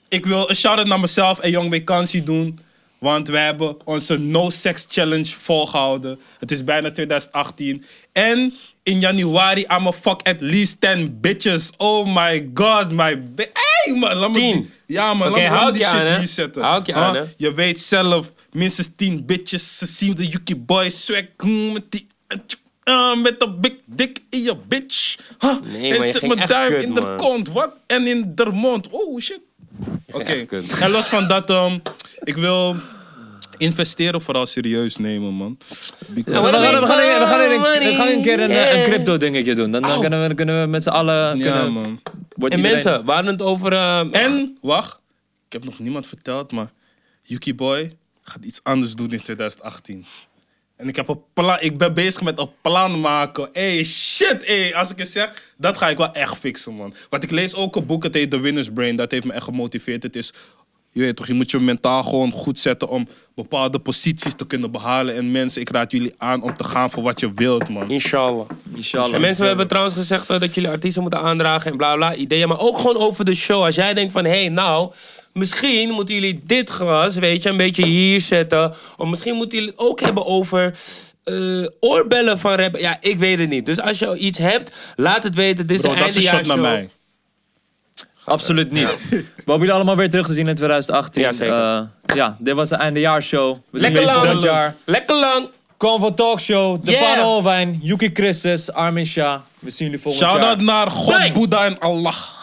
S3: ik wil een shout-out naar mezelf en Young Vakantie doen. Want wij hebben onze No Sex Challenge volgehouden. Het is bijna 2018. En in januari, I'ma fuck at least 10 bitches. Oh my god, my... bi- Hey man, laat me...
S1: Tien.
S3: die- Ja man,
S1: Oké,
S3: laat me
S1: houd
S3: die
S1: je aan,
S3: shit Ah,
S1: hè?
S3: hier zetten.
S1: Houd je
S3: Huh?
S1: aan, hè?
S3: Je weet zelf, minstens 10 bitches. Ze zien de Yuki Boy swag. mm, Met die... eh, met de big dick in je bitch. Huh?
S1: Nee, maar
S3: en
S1: je
S3: zit
S1: ging
S3: mijn
S1: echt
S3: duim
S1: kut,
S3: in de
S1: man.
S3: kont. Wat? En in de mond. Oh shit. Oké.
S1: echt kut.
S3: En los van dat, ehm, ik wil investeren vooral serieus nemen, man.
S2: We
S3: Because-
S2: gaan, we gaan, we gaan, we gaan een-
S1: Money.
S2: we gaan een keer een, eh, een crypto dingetje doen. Dan, dan
S3: Oh.
S2: kunnen, we, kunnen we met z'n allen...
S3: Ja,
S2: kunnen-
S3: man.
S2: wordt
S1: En
S2: iedereen-
S1: mensen, we hadden het over... eh,
S3: En, wacht. Ik heb nog niemand verteld, maar Yuki Boy gaat iets anders doen in 2018. En ik, heb een pla- ik ben bezig met een plan maken. Ey, shit, ey. Als ik het zeg, dat ga ik wel echt fixen, man. Want ik lees ook een boek, het heet The Winner's Brain. Dat heeft me echt gemotiveerd. Het is, je weet toch, je moet je mentaal gewoon goed zetten om bepaalde posities te kunnen behalen. En mensen, ik raad jullie aan om te gaan voor wat je wilt, man.
S1: Inshallah.
S2: Inshallah.
S1: En mensen, we hebben trouwens gezegd eh, dat jullie artiesten moeten aandragen en bla bla ideeën. Maar ook gewoon over de show. Als jij denkt van, hé, hey, nou, misschien moeten jullie dit glas, weet je, een beetje hier zetten. Of misschien moeten jullie het ook hebben over eh, oorbellen van rap. Ja, ik weet het niet. Dus als je iets hebt, laat het weten. Dit is
S3: Bro,
S1: de
S3: dat is een shot naar
S1: eindejaarshow.
S3: mij.
S2: Absoluut niet. We hebben jullie allemaal weer teruggezien in 2018.
S1: Ja, zeker.
S2: Eh, ja, dit was de eindejaarshow. We zien
S1: Lekker
S2: jullie
S1: lang.
S2: volgend jaar.
S1: Lekker lang.
S2: Convo Talkshow, De
S1: Yeah.
S2: Van Olwijn, Yuki Christus, Armin Shah. We zien jullie volgend jaar.
S3: Shout-out naar God, Boeddha en Allah.